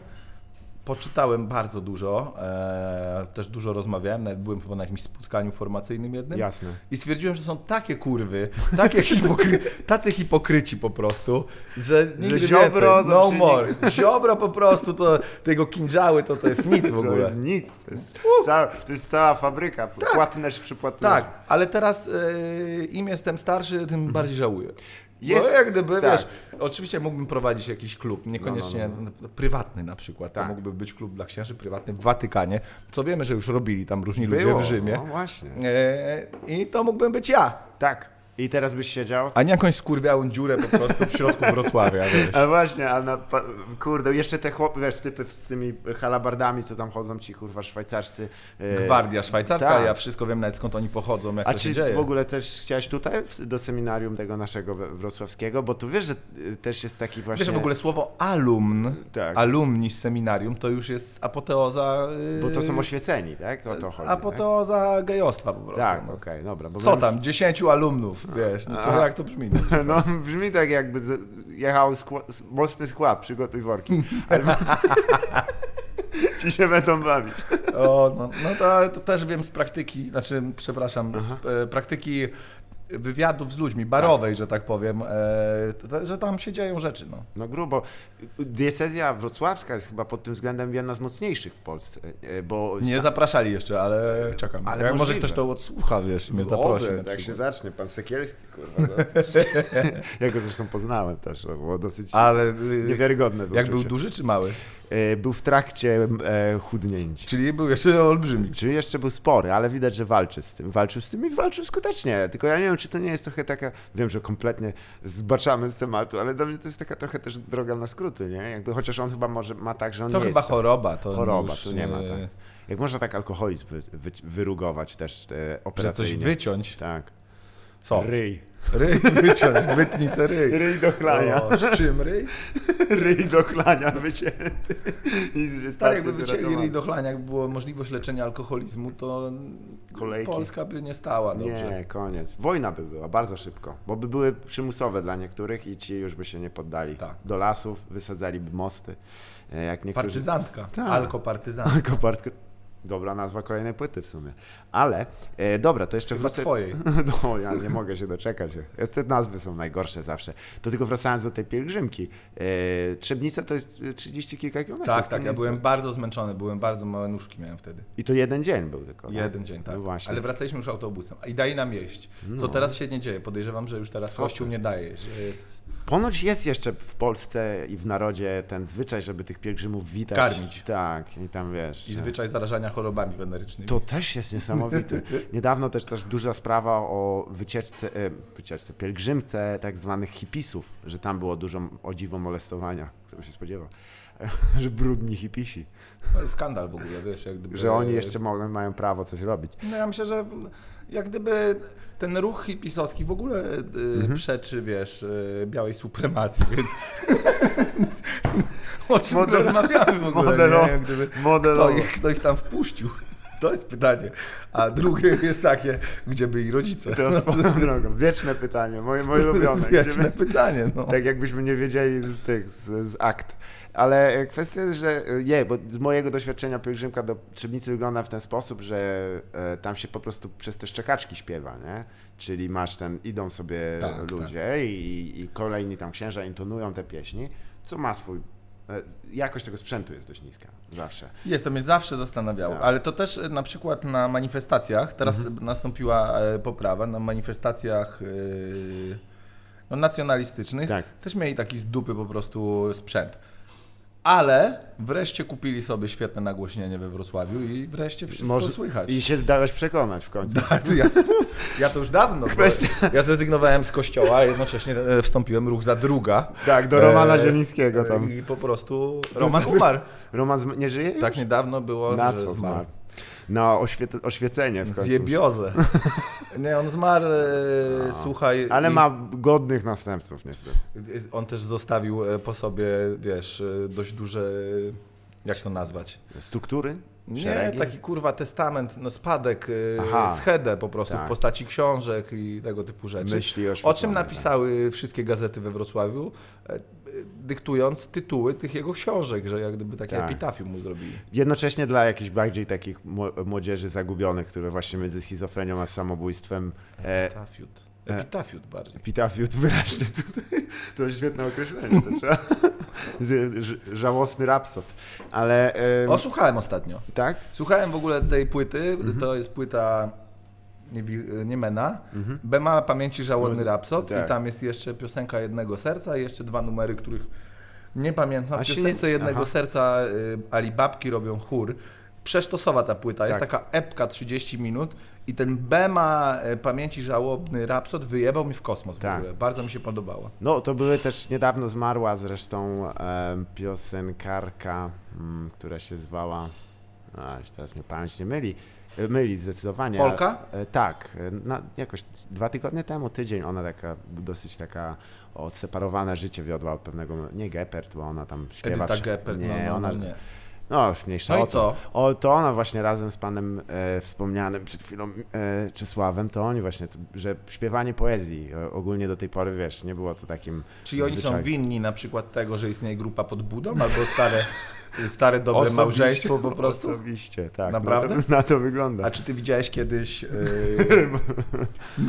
Poczytałem bardzo dużo, e, też dużo rozmawiałem, nawet byłem chyba na jakimś spotkaniu formacyjnym jednym. Jasne. I stwierdziłem, że są takie kurwy, takie hipokry- tacy hipokryci po prostu, że nigdy Ziobro, więcej, no no przy- more. Ziobro po prostu, to tego kinżały to, to jest [LAUGHS] nic w To ogóle. jest nic. To jest, cała, to jest cała fabryka. Płatne przy płatnerz. Tak, ale teraz y, im jestem starszy, tym bardziej żałuję. Jest, Mhm. Jest- Bo jak gdyby, tak. wiesz, oczywiście mógłbym prowadzić jakiś klub, niekoniecznie No, n- prywatny na przykład. Tak. To mógłby być klub dla księży prywatny w Watykanie, co wiemy, że już robili tam różni Było. ludzie w Rzymie. No właśnie. E, I to mógłbym być ja. Tak. I teraz byś siedział. A nie jakąś skurwiałą dziurę po prostu w środku Wrocławia, wiesz. A właśnie, a na, pa- kurde, jeszcze te chłopy, wiesz, typy z tymi halabardami, co tam chodzą ci, kurwa, szwajcarscy. [LAUGHS] e, Gwardia szwajcarska, tak. ja wszystko wiem nawet skąd oni pochodzą, jak A to czy się dzieje. w ogóle też chciałeś tutaj w- do seminarium tego naszego we- wrocławskiego? Bo tu wiesz, że y, też jest taki właśnie... Wiesz, że w ogóle słowo alumn, Tak. alumni z seminarium, to już jest apoteoza... yy, Bo to są oświeceni, tak? O to chodzi, Apoteoza gejostwa po tak? prostu. Tak, no. okej, dobra. Bo Co wiem, tam, dziesięciu alumnów, wiesz, no to A. jak to brzmi? No. że- No, [LAUGHS] brzmi tak jakby z- jechał skło- s- mocny skład, przygotuj [LAUGHS] worki. Ale... Ci się będą bawić. O, no, no to, to też wiem z praktyki, znaczy, przepraszam, z e, praktyki wywiadów z ludźmi, barowej, że tak powiem, e, to- to, że tam się dzieją rzeczy, no. No grubo. Diecezja wrocławska jest chyba pod tym względem jedna z mocniejszych w Polsce, e, bo... Nie zapraszali jeszcze, ale czekam. Ale jak może możliwe. ktoś to odsłucha, wiesz, i mnie Oby, zaprosi. na tak się przykład. zacznie, pan Sekielski, kurwa. no. [LAUGHS] ja go zresztą poznałem też, to było dosyć Ale y, niewiarygodne. było jak był uczucie. duży czy mały? E, był w trakcie e, chudnięcia. Czyli był jeszcze olbrzymi. Czyli jeszcze był spory, ale widać, że walczy z tym. Walczył z tym i walczył skutecznie. Tylko ja nie wiem, czy to nie jest trochę taka. Wiem, że kompletnie zbaczamy z tematu, ale dla mnie to jest taka trochę też droga na skróty, nie? Jakby, chociaż on chyba może ma tak, że on To nie chyba jest. choroba. To Choroba, już, tu nie ma, e, tak. Jak można tak alkoholizm wy, wy, wyrugować też e, Że coś operacyjnie. wyciąć. Tak. Co? Ryj. Ryj wyciąć, wytnij se ryj. Ryj do chlania. O, z czym ryj? Tak, Ryj do chlania wycięty. I z Tak, stacji jakby wycięli wyratowany. ryj do chlania, jakby była możliwość leczenia alkoholizmu, to Kolejki. Polska by nie stała dobrze. Nie, koniec. Wojna by była bardzo szybko, bo by były przymusowe dla niektórych i ci już by się nie poddali. Tak. Do lasów wysadzaliby mosty, e, jak niektórzy... Partyzantka, Tak. [LAUGHS] alkopartyzantka. Tylko partk- Dobra nazwa kolejnej płyty w sumie. Ale, e, dobra, to jeszcze Chyba wrócę... twojej. [LAUGHS] No, ja nie mogę się doczekać. E, Te nazwy są najgorsze zawsze. To tylko wracając do tej pielgrzymki. E, Trzebnica to jest e, 30 kilka kilometrów. Tak, to tak, nie ja jest- byłem bardzo zmęczony, byłem bardzo małe nóżki miałem wtedy. I to jeden dzień był tylko. tak? Jeden dzień, tak. No właśnie. No. Ale wracaliśmy już autobusem. I daj nam jeść. Co teraz się nie dzieje? Podejrzewam, że już teraz Co kościół ty? nie daje. jeść. Jest... Ponoć jest jeszcze w Polsce i w narodzie ten zwyczaj, żeby tych pielgrzymów witać. Karmić. Tak, i tam wiesz. I zwyczaj zarażania chorobami wenerycznymi. To też jest [LAUGHS] niesamowite. Niedawno też też duża sprawa o wycieczce, e, wycieczce pielgrzymce tak zwanych hipisów, że tam było dużo o dziwo molestowania, kto by się spodziewał, [LAUGHS] że brudni hipisi, To jest skandal w ogóle, wiesz, jak gdyby... że oni jeszcze mogą, mają prawo coś robić. No ja myślę, że jak gdyby ten ruch hipisowski w ogóle y, Mhm. przeczy, wiesz, y, białej supremacji, [LAUGHS] więc... o czym Model- rozmawiamy w ogóle, modelowo- nie? Jak gdyby... Model. Kto ich, kto ich tam wpuścił? [LAUGHS] To jest pytanie. A drugie jest takie, gdzie byli rodzice? No, Teraz [LAUGHS] swoją drogą. Wieczne pytanie, moje, moje To ulubione. jest Gdzie my- wieczne pytanie. No. Tak jakbyśmy nie wiedzieli z tych, z, z akt. Ale e, kwestia jest, że e, nie, bo z mojego doświadczenia pielgrzymka do Trzebnicy wygląda w ten sposób, że e, tam się po prostu przez te szczekaczki śpiewa, nie? Czyli masz ten, idą sobie Tak, ludzie I, i kolejni tam księża intonują te pieśni, co ma swój... e, Jakość tego sprzętu jest dość niska, zawsze. Jest, to mnie zawsze zastanawiało, Tak. Mhm. ale to też e, na przykład na manifestacjach, teraz nastąpiła e, poprawa, na manifestacjach e, no, nacjonalistycznych Tak. też mieli taki z dupy po prostu sprzęt. Ale wreszcie kupili sobie świetne nagłośnienie we Wrocławiu i wreszcie wszystko Może- słychać. I się dałeś przekonać w końcu. [LAUGHS] Tak, to ja, ja to już dawno. bo Kwestia- Ja zrezygnowałem z kościoła, a jednocześnie e, wstąpiłem ruch za druga. Tak, do Romana E, Zielińskiego tam. I po prostu Roman umarł. Roman zm- nie żyje już? Tak niedawno było, Na że co zmarł. zmarł? Na oświe- oświecenie w końcu. Zjebiozę. Nie, on zmarł, e, słuchaj. Ale i- ma godnych następców niestety. On też zostawił e, po sobie, wiesz, e, dość duże. e, Jak to nazwać? Struktury? Nie, Szeregi? taki kurwa testament, no spadek, e, Aha. schedę po prostu Tak. w postaci książek i tego typu rzeczy. Myśli O oświetlone, czym napisały wszystkie gazety we Wrocławiu, e, e, dyktując tytuły tych jego książek, że jak gdyby takie Tak. epitafium mu zrobili. tak. Jednocześnie dla jakichś bardziej takich mł- młodzieży zagubionych, które właśnie między schizofrenią a samobójstwem e, Epitafiut. Epitafiut bardziej. epitafiut wyraźnie tutaj. [LAUGHS] To świetne określenie, to trzeba. [LAUGHS] Z- ż- Żałosny rapsod. Ale e, O, słuchałem ostatnio. tak? Słuchałem w ogóle tej płyty, Mhm. to jest płyta Niewi- Niemena, Bema Pamięci Żałodny Rapsod Mhm. tak. i tam jest jeszcze piosenka Jednego Serca i jeszcze dwa numery, których nie pamiętam. A W się piosence nie- Jednego aha. Serca y, Ali Babki robią chór przesztosowa ta płyta, jest Tak. taka epka 30 minut i ten Bema e, pamięci żałobny Rapsod wyjebał mi w kosmos w Tak. ogóle. Bardzo mi się podobało. No, to były też niedawno zmarła zresztą em, piosenkarka, mm, która się zwała. A, już teraz mnie pamięć nie myli. E, Myli zdecydowanie. Polka? E, tak, e, na, jakoś dwa tygodnie temu, tydzień, ona taka dosyć taka odseparowane życie wiodła od pewnego. Nie Gepard, bo ona tam śpiewa. Edyta wszy- Gepard, nie, no, no, ona, no, nie. no już mniejsza No o i to. co? O, to ona właśnie razem z panem e, wspomnianym przed chwilą e, Czesławem, to oni właśnie, t- że śpiewanie poezji e, ogólnie do tej pory, wiesz, nie było to takim Czyli oni są zwyczajem. winni na przykład tego, że istnieje grupa pod budą albo [LAUGHS] stare, stare dobre małżeństwo po prostu? Osobiście, tak. [LAUGHS] Naprawdę? Na to, na to wygląda. A czy ty [LAUGHS] widziałeś kiedyś yy,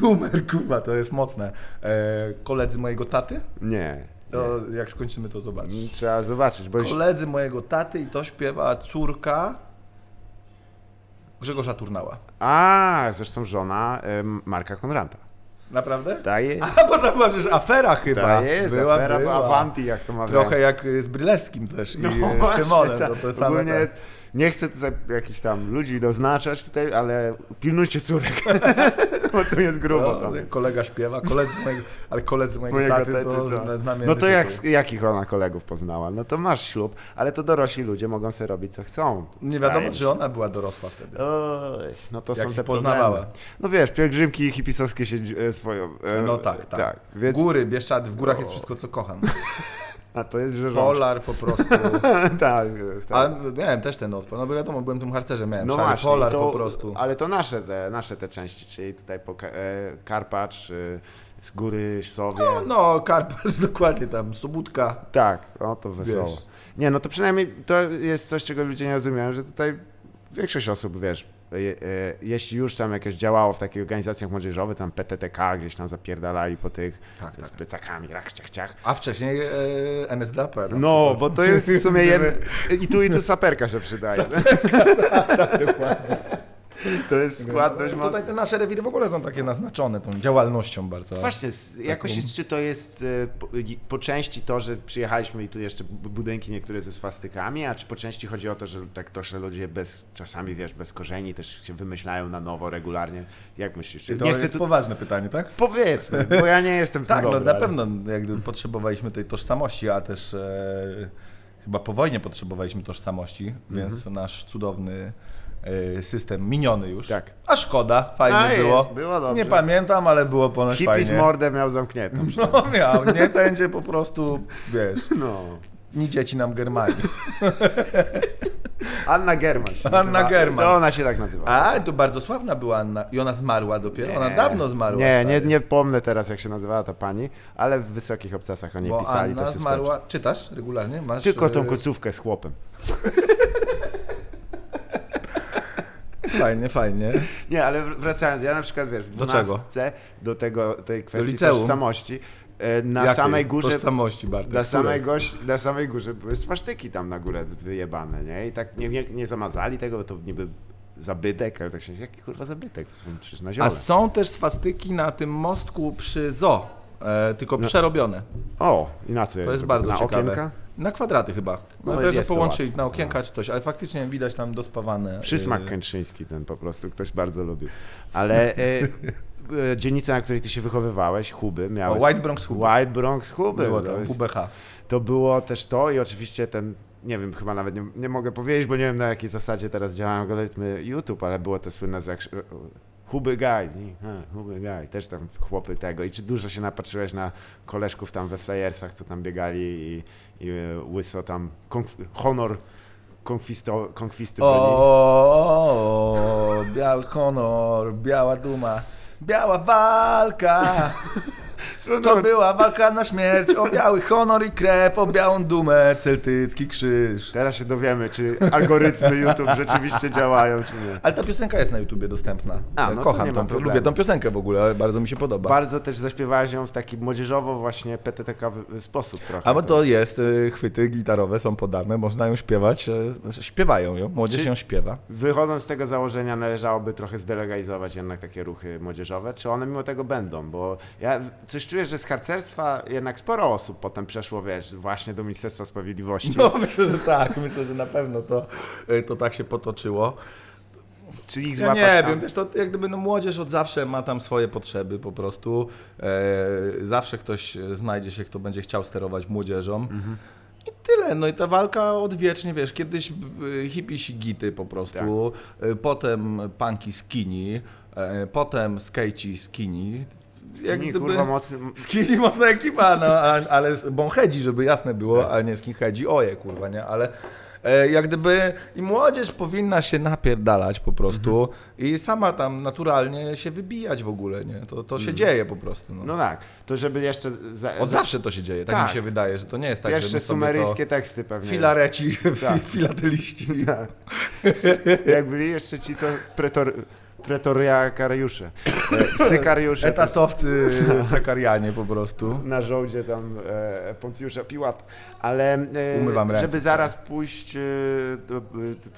numer, kurwa, to jest mocne, yy, koledzy mojego taty? Nie. To, jak skończymy to zobaczysz. nie. Trzeba zobaczyć, bo już... Koledzy mojego taty i to śpiewa córka Grzegorza Turnała. A, zresztą żona e, Marka Konranta. Daje. Daje, A [LAUGHS] bo to była przecież afera chyba. ta Tak. jest, Tak, była, afera była. Avanti, jak to ma Trochę jak y, z Brylewskim też i y, z właśnie, Tymonem, tak. to to same Ogólnie te- nie chcę tutaj jakichś tam ludzi doznaczać tutaj, ale pilnujcie córek, [LAUGHS] bo tu jest grubo. no, tam. kolega śpiewa, koledzy mojego, ale koledzy mojego, Mojego taty, taty, to tak. zna- znamienny No to jak, tytuł. jakich ona kolegów poznała? No to masz ślub, ale to dorośli ludzie mogą sobie robić co chcą. Nie wiadomo, Wydaje czy ona była dorosła wtedy. Oj, no to Jak są ich te poznawała. problemy. No wiesz, pielgrzymki hipisowskie się dzi- e, swoją... e, No tak, tak. więc, No. Góry, Bieszczady, w górach jest wszystko, co kocham. A to jest rzeżączka. Polar po prostu. No. [LAUGHS] tak, A tak. miałem też ten odpad. No bo wiadomo, byłem tym harcerzem, miałem No szary właśnie, polar to, po prostu. ale to nasze te, nasze te części, czyli tutaj po, Ka- e, Karpacz, e, z góry, Sowie. No, no Karpacz [LAUGHS] dokładnie tam, Subudka. Tak, o to wesoło. Wiesz. Nie, no to przynajmniej to jest coś, czego ludzie nie rozumieją, że tutaj większość osób, wiesz, je, e, jeśli już tam jakieś działało w takich organizacjach młodzieżowych, tam PTTK gdzieś tam zapierdalali po tych Tak, tak. z plecakami, rach, ciach, ciach. A wcześniej e, NSDAP. na No, bo to jest w [LAUGHS] sumie Gdyby- jem... i tu i tu saperka się [LAUGHS] przydaje. Dokładnie. To jest składność No, mocna. Tutaj te nasze rewiry w ogóle są takie naznaczone tą działalnością bardzo. Właśnie, z- Tak jakoś jest, czy to jest e, po, i- po części to, że przyjechaliśmy i tu jeszcze bu- budynki niektóre ze swastykami, a czy po części chodzi o to, że tak troszkę ludzie bez, czasami wiesz, bez korzeni też się wymyślają na nowo regularnie. Jak myślisz? To nie chcę jest tu... poważne pytanie, tak? Powiedzmy, bo ja nie [LAUGHS] jestem w tym Tak, no dobry, na ale- pewno jak gdyby potrzebowaliśmy tej tożsamości, a też e, chyba po wojnie potrzebowaliśmy tożsamości, więc Mhm. nasz cudowny e, system miniony już. Tak. A szkoda, fajnie A, jest, było. było dobrze. Nie pamiętam, ale było ponoć Hippie z no, fajnie. mordę miał [LAUGHS] zamkniętą. No miał, nie będzie po prostu, wiesz, No. nie dzieci nam Germanii. Anna German się Anna nazywa. German. To ona się tak nazywa. A, to bardzo sławna była Anna i ona zmarła dopiero, ona dawno zmarła. Nie, nie, stary. nie pomnę teraz, jak się nazywała ta pani, ale w wysokich obcasach o niej Bo pisali. Anna te suspekty. zmarła, czytasz regularnie? Masz, Tylko tą e, końcówkę z chłopem. Fajnie, fajnie. Nie, ale wr- wracając, ja na przykład wiesz, w Do 12 do tego, tej kwestii liceum? tożsamości, e, na Jakiej samej górze. Tożsamości, Bartek. Na której? samej, goś, na samej górze były swasztyki tam na górę wyjebane, nie? I tak nie, nie, nie zamazali tego, bo to niby zabytek, ale tak się jaki kurwa zabytek? To są przecież na A ziole. są też swastyki na tym mostku przy zoo, e, tylko No. przerobione. O, i na co je To jest zrobiono? bardzo na ciekawe. okienka? Na kwadraty chyba. No, No to, że jest to połączyli ładne. na okienka czy coś, ale faktycznie widać tam dospawane. Przysmak e, kętrzyński ten po prostu, ktoś bardzo lubił. Ale e, [LAUGHS] e, dzielnica, na której ty się wychowywałeś, Huby, o, miałeś... White Bronx Hub. White Bronx Huby. Było to to, jest- UBH. to było też to i oczywiście ten, nie wiem, chyba nawet nie, nie mogę powiedzieć, bo nie wiem na jakiej zasadzie teraz działają algorytmy YouTube, ale było to słynne jak e, Huby Guy, nie? Ha, Huby Guy, też tam chłopy tego. I czy dużo się napatrzyłeś na koleżków tam we Flyersach, co tam biegali i, i e, łyso tam konf- honor konkwisto, konkwisty O, byli. o, o, biały honor, biała duma. Biała walka, no, to była walka na śmierć, o biały honor i krew, o białą dumę, celtycki krzyż. Teraz się dowiemy, czy algorytmy YouTube rzeczywiście działają, czy nie. Ale ta piosenka jest na YouTubie dostępna. A, Ja no to Kocham nie ma tą, problemu. lubię tą piosenkę w ogóle, bardzo mi się podoba. Bardzo też zaśpiewałeś ją w taki młodzieżowo właśnie PTTK-wy sposób trochę. A bo to jest, y, chwyty gitarowe są podane, można ją śpiewać, y, znaczy śpiewają ją, młodzież Czy- ją śpiewa. Wychodząc z tego założenia, należałoby trochę zdelegalizować jednak takie ruchy młodzieżowe. Czy one mimo tego będą? Bo ja w- coś czujesz, że z harcerstwa jednak sporo osób potem przeszło, wiesz, właśnie do Ministerstwa Sprawiedliwości. [LAUGHS] No, myślę, że tak. Myślę, że na pewno to, to tak się potoczyło. Czy ich Ja złapać nie tam? wiem, wiesz, to jak gdyby no, młodzież od zawsze ma tam swoje potrzeby po prostu. E, zawsze ktoś znajdzie się, kto będzie chciał sterować młodzieżą. I tyle, no i ta walka odwiecznie, wiesz, kiedyś b- hipisi gity po prostu, e, potem punki skinny, e, potem skejci skinny. Jak Nie, gdyby- kurwa mocny... Skinny mocna ekipa, no, a, ale z bąchedzi, żeby jasne Tak. było, a nie skinheadzi, oje kurwa, nie, ale e, jak gdyby i młodzież powinna się napierdalać po prostu Mhm. i sama tam naturalnie się wybijać w ogóle, nie, to, to się dzieje po prostu, no. Mhm. No tak, to żeby jeszcze... Za... Od za- zawsze to się dzieje, tak, Tak. mi się wydaje, że to nie jest tak, że Pierwsze my sobie sumeryjskie to... teksty pewnie. Filareci, Tak. filateliści. [LAUGHS] Tak. [LAUGHS] Jak byli jeszcze ci, co pretor... pretoriakariusze, e, sykariusze. [LAUGHS] Etatowcy prekarianie po prostu. na żołdzie tam e, Poncjusza Piłat, ale e, Umywam ręce. tak. żeby zaraz pójść e, do, e,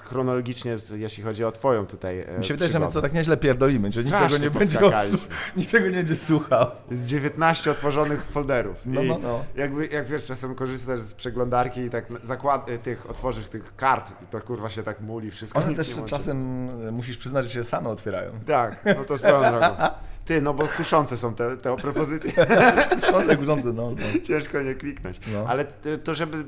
chronologicznie, z- jeśli chodzi o twoją tutaj e, Mi się wydaje, że my przygodę. co tak nieźle pierdolimy, że nikt tego Strasznie nie będzie poskakaliśmy. odsłuch- nikt tego nie będzie słuchał. z 19 otworzonych folderów. tak- No, I no, no. Jakby, jak wiesz, czasem korzystasz z przeglądarki i tak na- zakład, e, tych, otworzysz tych kart i to kurwa się tak muli, wszystko One nic też nie łączy. czasem e, musisz przyznać, że się same otwierają. [LAUGHS] Tak, no to z pełną drogą. Ty, no bo kuszące są te, te propozycje. [LAUGHS] Sprzątek urządzę, no. no. Ciężko nie kliknąć. No. Ale e, to, żeby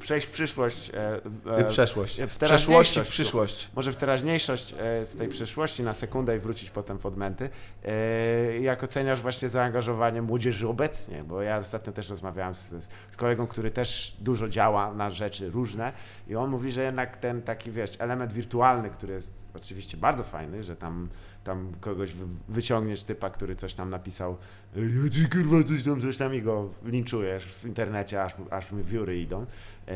przejść w przyszłość. e, e, Przeszłość. w Z przeszłości w teraźniejszość. przyszłość. Może w teraźniejszość e, z tej przeszłości na sekundę i wrócić potem w odmęty. E, Jak oceniasz właśnie zaangażowanie młodzieży obecnie? Bo ja ostatnio też rozmawiałem z, z kolegą, który też dużo działa na rzeczy różne i on mówi, że jednak ten taki, wiesz, element wirtualny, który jest oczywiście bardzo fajny, że tam tam kogoś wy- wyciągniesz typa, który coś tam napisał, "Ej, ja ci kurwa coś tam, coś tam i go linczujesz w internecie, aż, mu- aż mi wióry idą, E,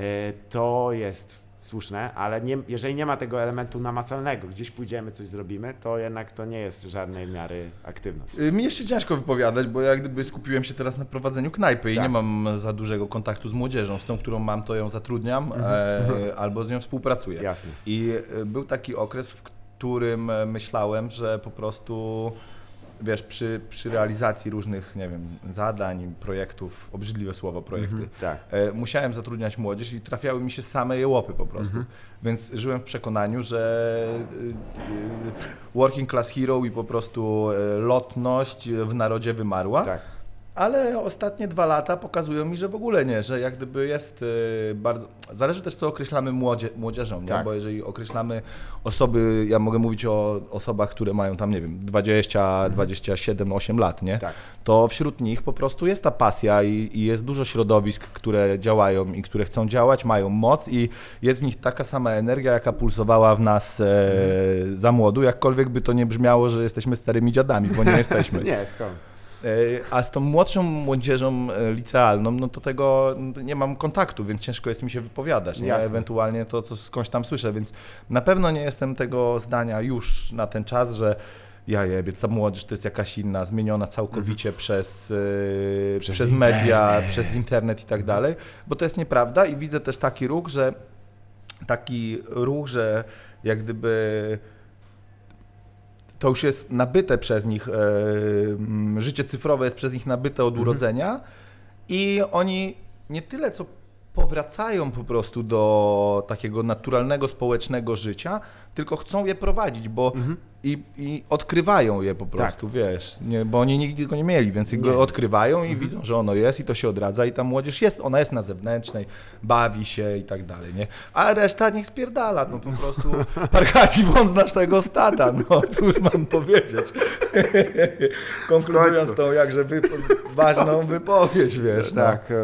to jest słuszne, ale nie, jeżeli nie ma tego elementu namacalnego, gdzieś pójdziemy, coś zrobimy, to jednak to nie jest żadnej miary aktywność. Y, Mi jeszcze ciężko wypowiadać, bo jak gdyby skupiłem się teraz na prowadzeniu knajpy i Tak. nie mam za dużego kontaktu z młodzieżą. Z tą, którą mam, to ją zatrudniam Mhm. e, [LAUGHS] albo z nią współpracuję. Jasne. I e, był taki okres, w którym e, myślałem, że po prostu wiesz, przy, przy realizacji różnych, nie wiem, zadań, projektów, obrzydliwe słowo projekty, Tak. E, musiałem zatrudniać młodzież i trafiały mi się same jełopy po prostu. Więc żyłem w przekonaniu, że e, e, working class hero i po prostu e, lotność w narodzie wymarła. Tak. Ale ostatnie dwa lata pokazują mi, że w ogóle nie, że jak gdyby jest e, bardzo. Zależy też, co określamy młodzie, młodzieżą, nie? Tak. bo jeżeli określamy osoby, ja mogę mówić o osobach, które mają tam, nie wiem, 20, 27, 8 lat, nie? Mhm. Tak. To wśród nich po prostu jest ta pasja i, i jest dużo środowisk, które działają i które chcą działać, mają moc i jest w nich taka sama energia, jaka pulsowała w nas e, Mhm. za młodu, jakkolwiek by to nie brzmiało, że jesteśmy starymi dziadami, bo nie [LAUGHS] jesteśmy. Nie, skąd? E, A z tą młodszą młodzieżą e, licealną, no to tego nie mam kontaktu, więc ciężko jest mi się wypowiadać. Nie? Jasne. Ewentualnie to, co skądś tam słyszę, więc na pewno nie jestem tego zdania już na ten czas, że ja jebie, ta młodzież to jest jakaś inna, zmieniona całkowicie przez, e, przez, media, przez internet i tak dalej, bo to jest nieprawda i widzę też taki ruch, że taki ruch, że jak gdyby to już jest nabyte przez nich, e, mm, życie cyfrowe jest przez nich nabyte od urodzenia i oni nie tyle co powracają po prostu do takiego naturalnego społecznego życia, tylko chcą je prowadzić, bo i, i odkrywają je po prostu, wiesz, nie, bo oni nigdy go nie mieli, więc Nie. go odkrywają i widzą, że ono jest i to się odradza i ta młodzież jest, ona jest na zewnętrznej, bawi się i tak dalej, nie? A reszta niech spierdala, no po prostu parkaci wąt z naszego stada, no cóż mam powiedzieć. Konkludując W końcu. tą jakże wypo- [LAUGHS] ważną wypowiedź, wiesz, no. Tak. [LAUGHS]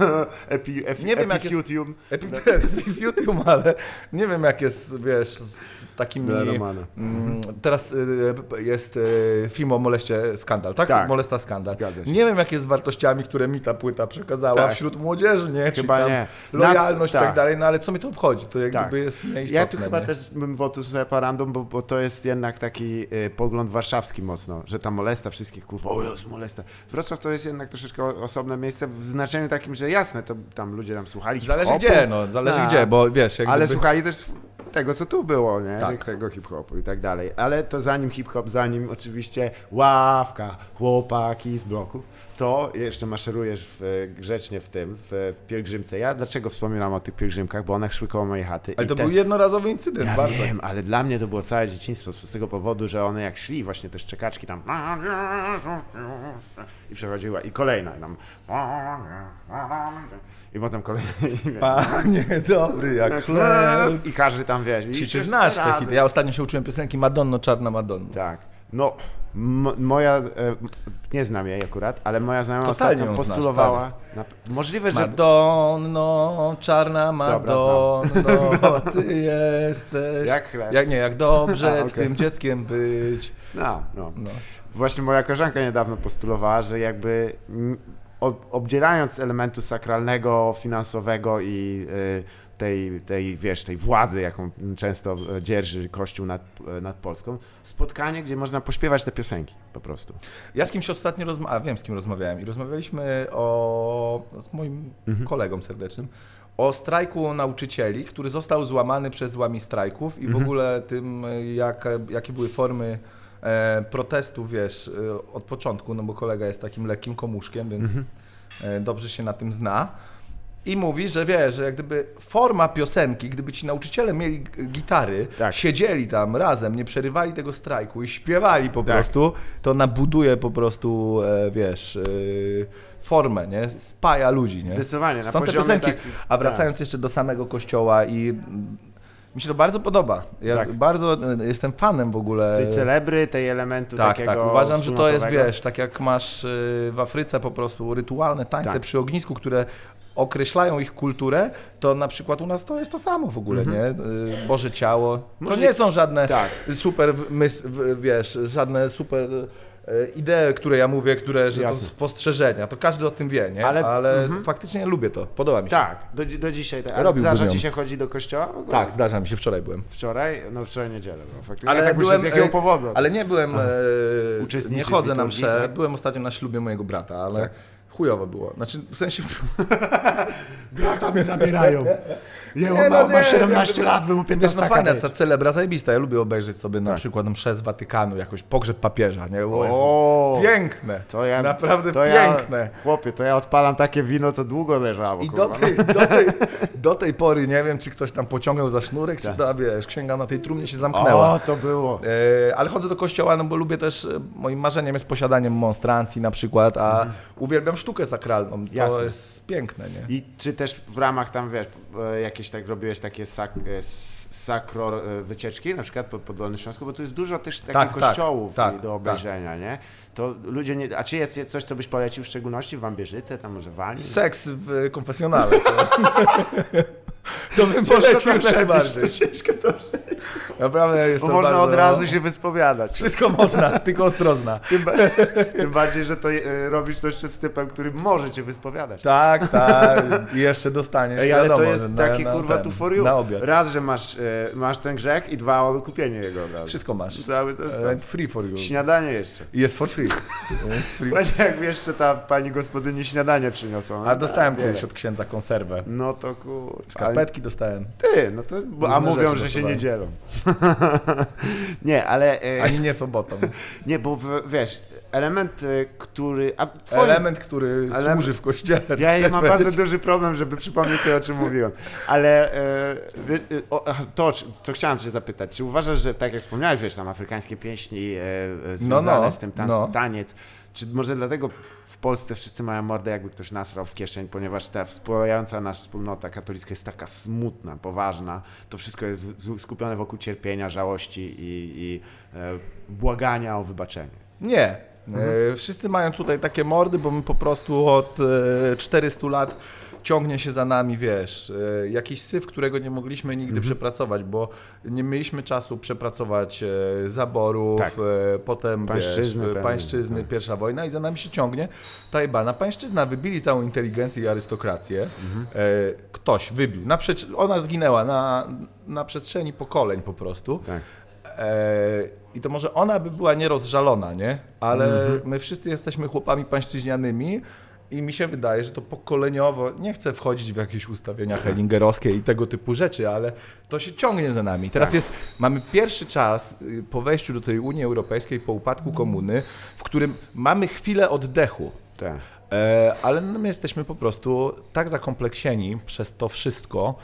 e, Epi, epi, Nie wiem, jak jest- epicutium. [LAUGHS] Epifitium, ale nie wiem jak jest, wiesz, z takimi... Dla Romana. Mm, teraz y, p- jest y, film o moleście Skandal, tak? Tak. Molesta Skandal. Zgadza się. Nie wiem jak jest z wartościami, które mi ta płyta przekazała Tak. wśród młodzieży, nie? Czy Chyba tam nie. Lojalność Nad- i tak tak. dalej, no ale co mi to obchodzi? To jak Tak. gdyby jest nieistotne. Ja tu chyba nie? też bym wotus separandum, bo, bo to jest jednak taki y, pogląd warszawski mocno, że ta molesta wszystkich, kurwa, o Jezu, molesta. Wrocław to jest jednak troszeczkę o- osobne miejsce w znaczeniu takim, że jasne, to tam ludzie tam słuchali Zależy hip-hopu, gdzie, no, zależy tak. gdzie, bo wiesz, jak Ale gdyby... słuchali też tego, co tu było, nie? Tak. Tego hip-hopu i tak dalej. Ale to zanim hip-hop, zanim oczywiście ławka, chłopaki z bloku, to jeszcze maszerujesz w, e, grzecznie w tym, w e, pielgrzymce. Ja dlaczego wspominam o tych pielgrzymkach? Bo one szły koło mojej chaty. Ale i to te- był jednorazowy incydent, ja bardzo. wiem, ale dla mnie to było całe dzieciństwo z tego powodu, że one jak szli, właśnie te szczekaczki tam i przechodziła i kolejna tam i potem kolejna i- Panie dobry, jak chleb. i każdy tam wiesz. i Czy, czy wszyscy znasz te razem. hity? Ja ostatnio się uczyłem piosenki Madonno, Czarna Madonna. Tak. No, m- moja, e, nie znam jej akurat, ale moja znajoma Totalnie ostatnio ją znasz, tak. postulowała, na, możliwe, że Madonno, czarna Madonno, [LAUGHS] ty jesteś. Jak chleb. Jak nie, jak dobrze A, okej. tym dzieckiem być. znam, no. No. Właśnie moja koleżanka niedawno postulowała, że jakby mm, ob- obdzierając elementu sakralnego, finansowego i y, tej, tej, wiesz, tej władzy, jaką często e, dzierży Kościół nad, e, nad Polską, spotkanie, gdzie można pośpiewać te piosenki po prostu. Ja z kimś ostatnio rozmawiałem, wiem z kim rozmawiałem i rozmawialiśmy o, z moim Mhm. kolegą serdecznym o strajku nauczycieli, który został złamany przez złami strajków i w Mhm. ogóle tym, jak, jakie były formy e, protestu, wiesz, e, od początku, no bo kolega jest takim lekkim komuszkiem, więc Mhm. e, dobrze się na tym zna. I mówi, że wie, że jak gdyby forma piosenki, gdyby ci nauczyciele mieli g- gitary, Tak. siedzieli tam razem, nie przerywali tego strajku i śpiewali po Tak. prostu, to nabuduje po prostu, e, wiesz, e, formę, nie? Spaja ludzi, nie? Zdecydowanie, na Stąd te poziomie piosenki. takim- tak. A wracając jeszcze do samego kościoła i mm, mi się to bardzo podoba. Ja Tak. bardzo e, jestem fanem w ogóle. Tej celebry, tej elementu Tak, takiego tak. Uważam, że to jest, wspólnotowego. wiesz, tak jak masz y, w Afryce po prostu rytualne tańce Tak. przy ognisku, które określają ich kulturę, to na przykład u nas to jest to samo w ogóle, nie? Y, Boże ciało. To Mhm. Może- nie są żadne Tak. super, w- mys- w- wiesz, żadne super y, idee, które ja mówię, które, że to Jasne. spostrzeżenia, to każdy o tym wie, nie? Ale, Ale- mhm. faktycznie lubię to, podoba mi się. Tak, do, dzi- do dzisiaj. Tak. A Robiłbym zdarza ją. ci się chodzi do kościoła? w ogóle? tak, zdarza mi się, wczoraj byłem. Wczoraj? No wczoraj niedzielę. No, faktycznie. Ale ja tak byłem, z jakiego e, powodu. Ale nie byłem, e, nie Uczestniczysz chodzę w na liturgii, msze, tak? byłem ostatnio na ślubie mojego brata, ale chujowo było. Znaczy, w sensie, [LAUGHS] Brata mnie zabierają. Nie, Nie, on no ma, nie, ma 17 nie, lat, wy mu wiesz, 15 no no fajna ta celebra, zajebista, ja lubię obejrzeć sobie na przykład mszę z Watykanu, jakoś pogrzeb papieża, nie? O, Jezu. Tak. O, Piękne, to ja, naprawdę to piękne. Ja, chłopie, to ja odpalam takie wino, co długo leżało. I kurwa. do tej, do, tej, do tej pory nie wiem, czy ktoś tam pociągnął za sznurek, czy da, wiesz, księga na tej trumnie się zamknęła. Tak. O, to było. E, ale chodzę do kościoła, no bo lubię też, e, moim marzeniem jest posiadanie monstrancji na przykład, a uwielbiam sztukę sakralną, to Mhm. Jasne. jest piękne, nie? I czy też w ramach tam, wiesz, e, jakieś tak robiłeś takie sak, e, s- sakro e, wycieczki, na przykład po, po Dolnym Śląsku, bo tu jest dużo też takich Tak, tak, kościołów tak, do obejrzenia, nie? To ludzie nie... A czy jest je- coś, co byś polecił w szczególności? Wambierzyce, tam może Wani? Seks w e, konfesjonale. [LAUGHS] To, to bym Ciężko polecił to przebić, najbardziej. to ciężko to przebić. Naprawdę jest Bo to można bardzo... od razu się wyspowiadać. [LAUGHS] Wszystko można, tylko ostrożna. Tym, ba- [LAUGHS] tym bardziej, że to e, robisz to jeszcze z typem, który może cię wyspowiadać. Tak, tak, i jeszcze dostaniesz, Ej, ale wiadomo, to jest że taki na, na kurwa ten, tu for you. Na obiad. Raz, że masz, e, masz ten grzech i dwa, odkupienie jego od razu. Wszystko masz. Cały zestaw. E, Free for you. Śniadanie jeszcze. I Jest for free. Jest free. Pamiętaj, jak jeszcze ta pani gospodyni śniadanie przyniosła. A dostałem Wiele. kiedyś od księdza konserwę. No to kur... Skarpetki dostałem. A, ty, no to... Bo, a Różne mówią, rzeczy że się dostawałem. nie dzielą. [LAUGHS] nie, ale... E, Ani nie sobotą. Nie, bo w, wiesz, element, e, który... A twoim Element, który Element- służy w kościele. [LAUGHS] Tak Ja Chciałem mam powiedzieć. bardzo duży problem, żeby przypomnieć sobie, o czym mówiłem. Ale e, wy- e, o, ach, to, czy- co chciałem cię zapytać, czy uważasz, że tak jak wspomniałeś, wiesz, tam afrykańskie pieśni e, e, związane No, no, z tym tan- no. taniec, czy może dlatego w Polsce wszyscy mają mordę, jakby ktoś nasrał w kieszeń, ponieważ ta wspierająca nas wspólnota katolicka jest taka smutna, poważna, to wszystko jest w- z- skupione wokół cierpienia, żałości i, i e, błagania o wybaczenie. Nie. Mhm. E, Wszyscy mają tutaj takie mordy, bo my po prostu od e, 400 lat ciągnie się za nami, wiesz, e, jakiś syf, którego nie mogliśmy Mhm. nigdy przepracować, bo nie mieliśmy czasu przepracować e, zaborów, Tak. e, potem Pańszczyzny wiesz, e, pewnie, pańszczyzny, tak. pierwsza wojna i za nami się ciągnie ta jebana pańszczyzna. Wybili całą inteligencję i arystokrację. Mhm. E, Ktoś wybił. Na przecz- ona zginęła na, na przestrzeni pokoleń po prostu. Tak. E, I to może ona by była nierozżalona, nie? Ale my wszyscy jesteśmy chłopami pańszczyźnianymi. I mi się wydaje, że to pokoleniowo, nie chcę wchodzić w jakieś ustawienia hellingerowskie i tego typu rzeczy, ale to się ciągnie za nami. Teraz jest, mamy pierwszy czas y, po wejściu do tej Unii Europejskiej, po upadku komuny, w którym mamy chwilę oddechu. Tak. E, ale my jesteśmy po prostu tak zakompleksieni przez to wszystko,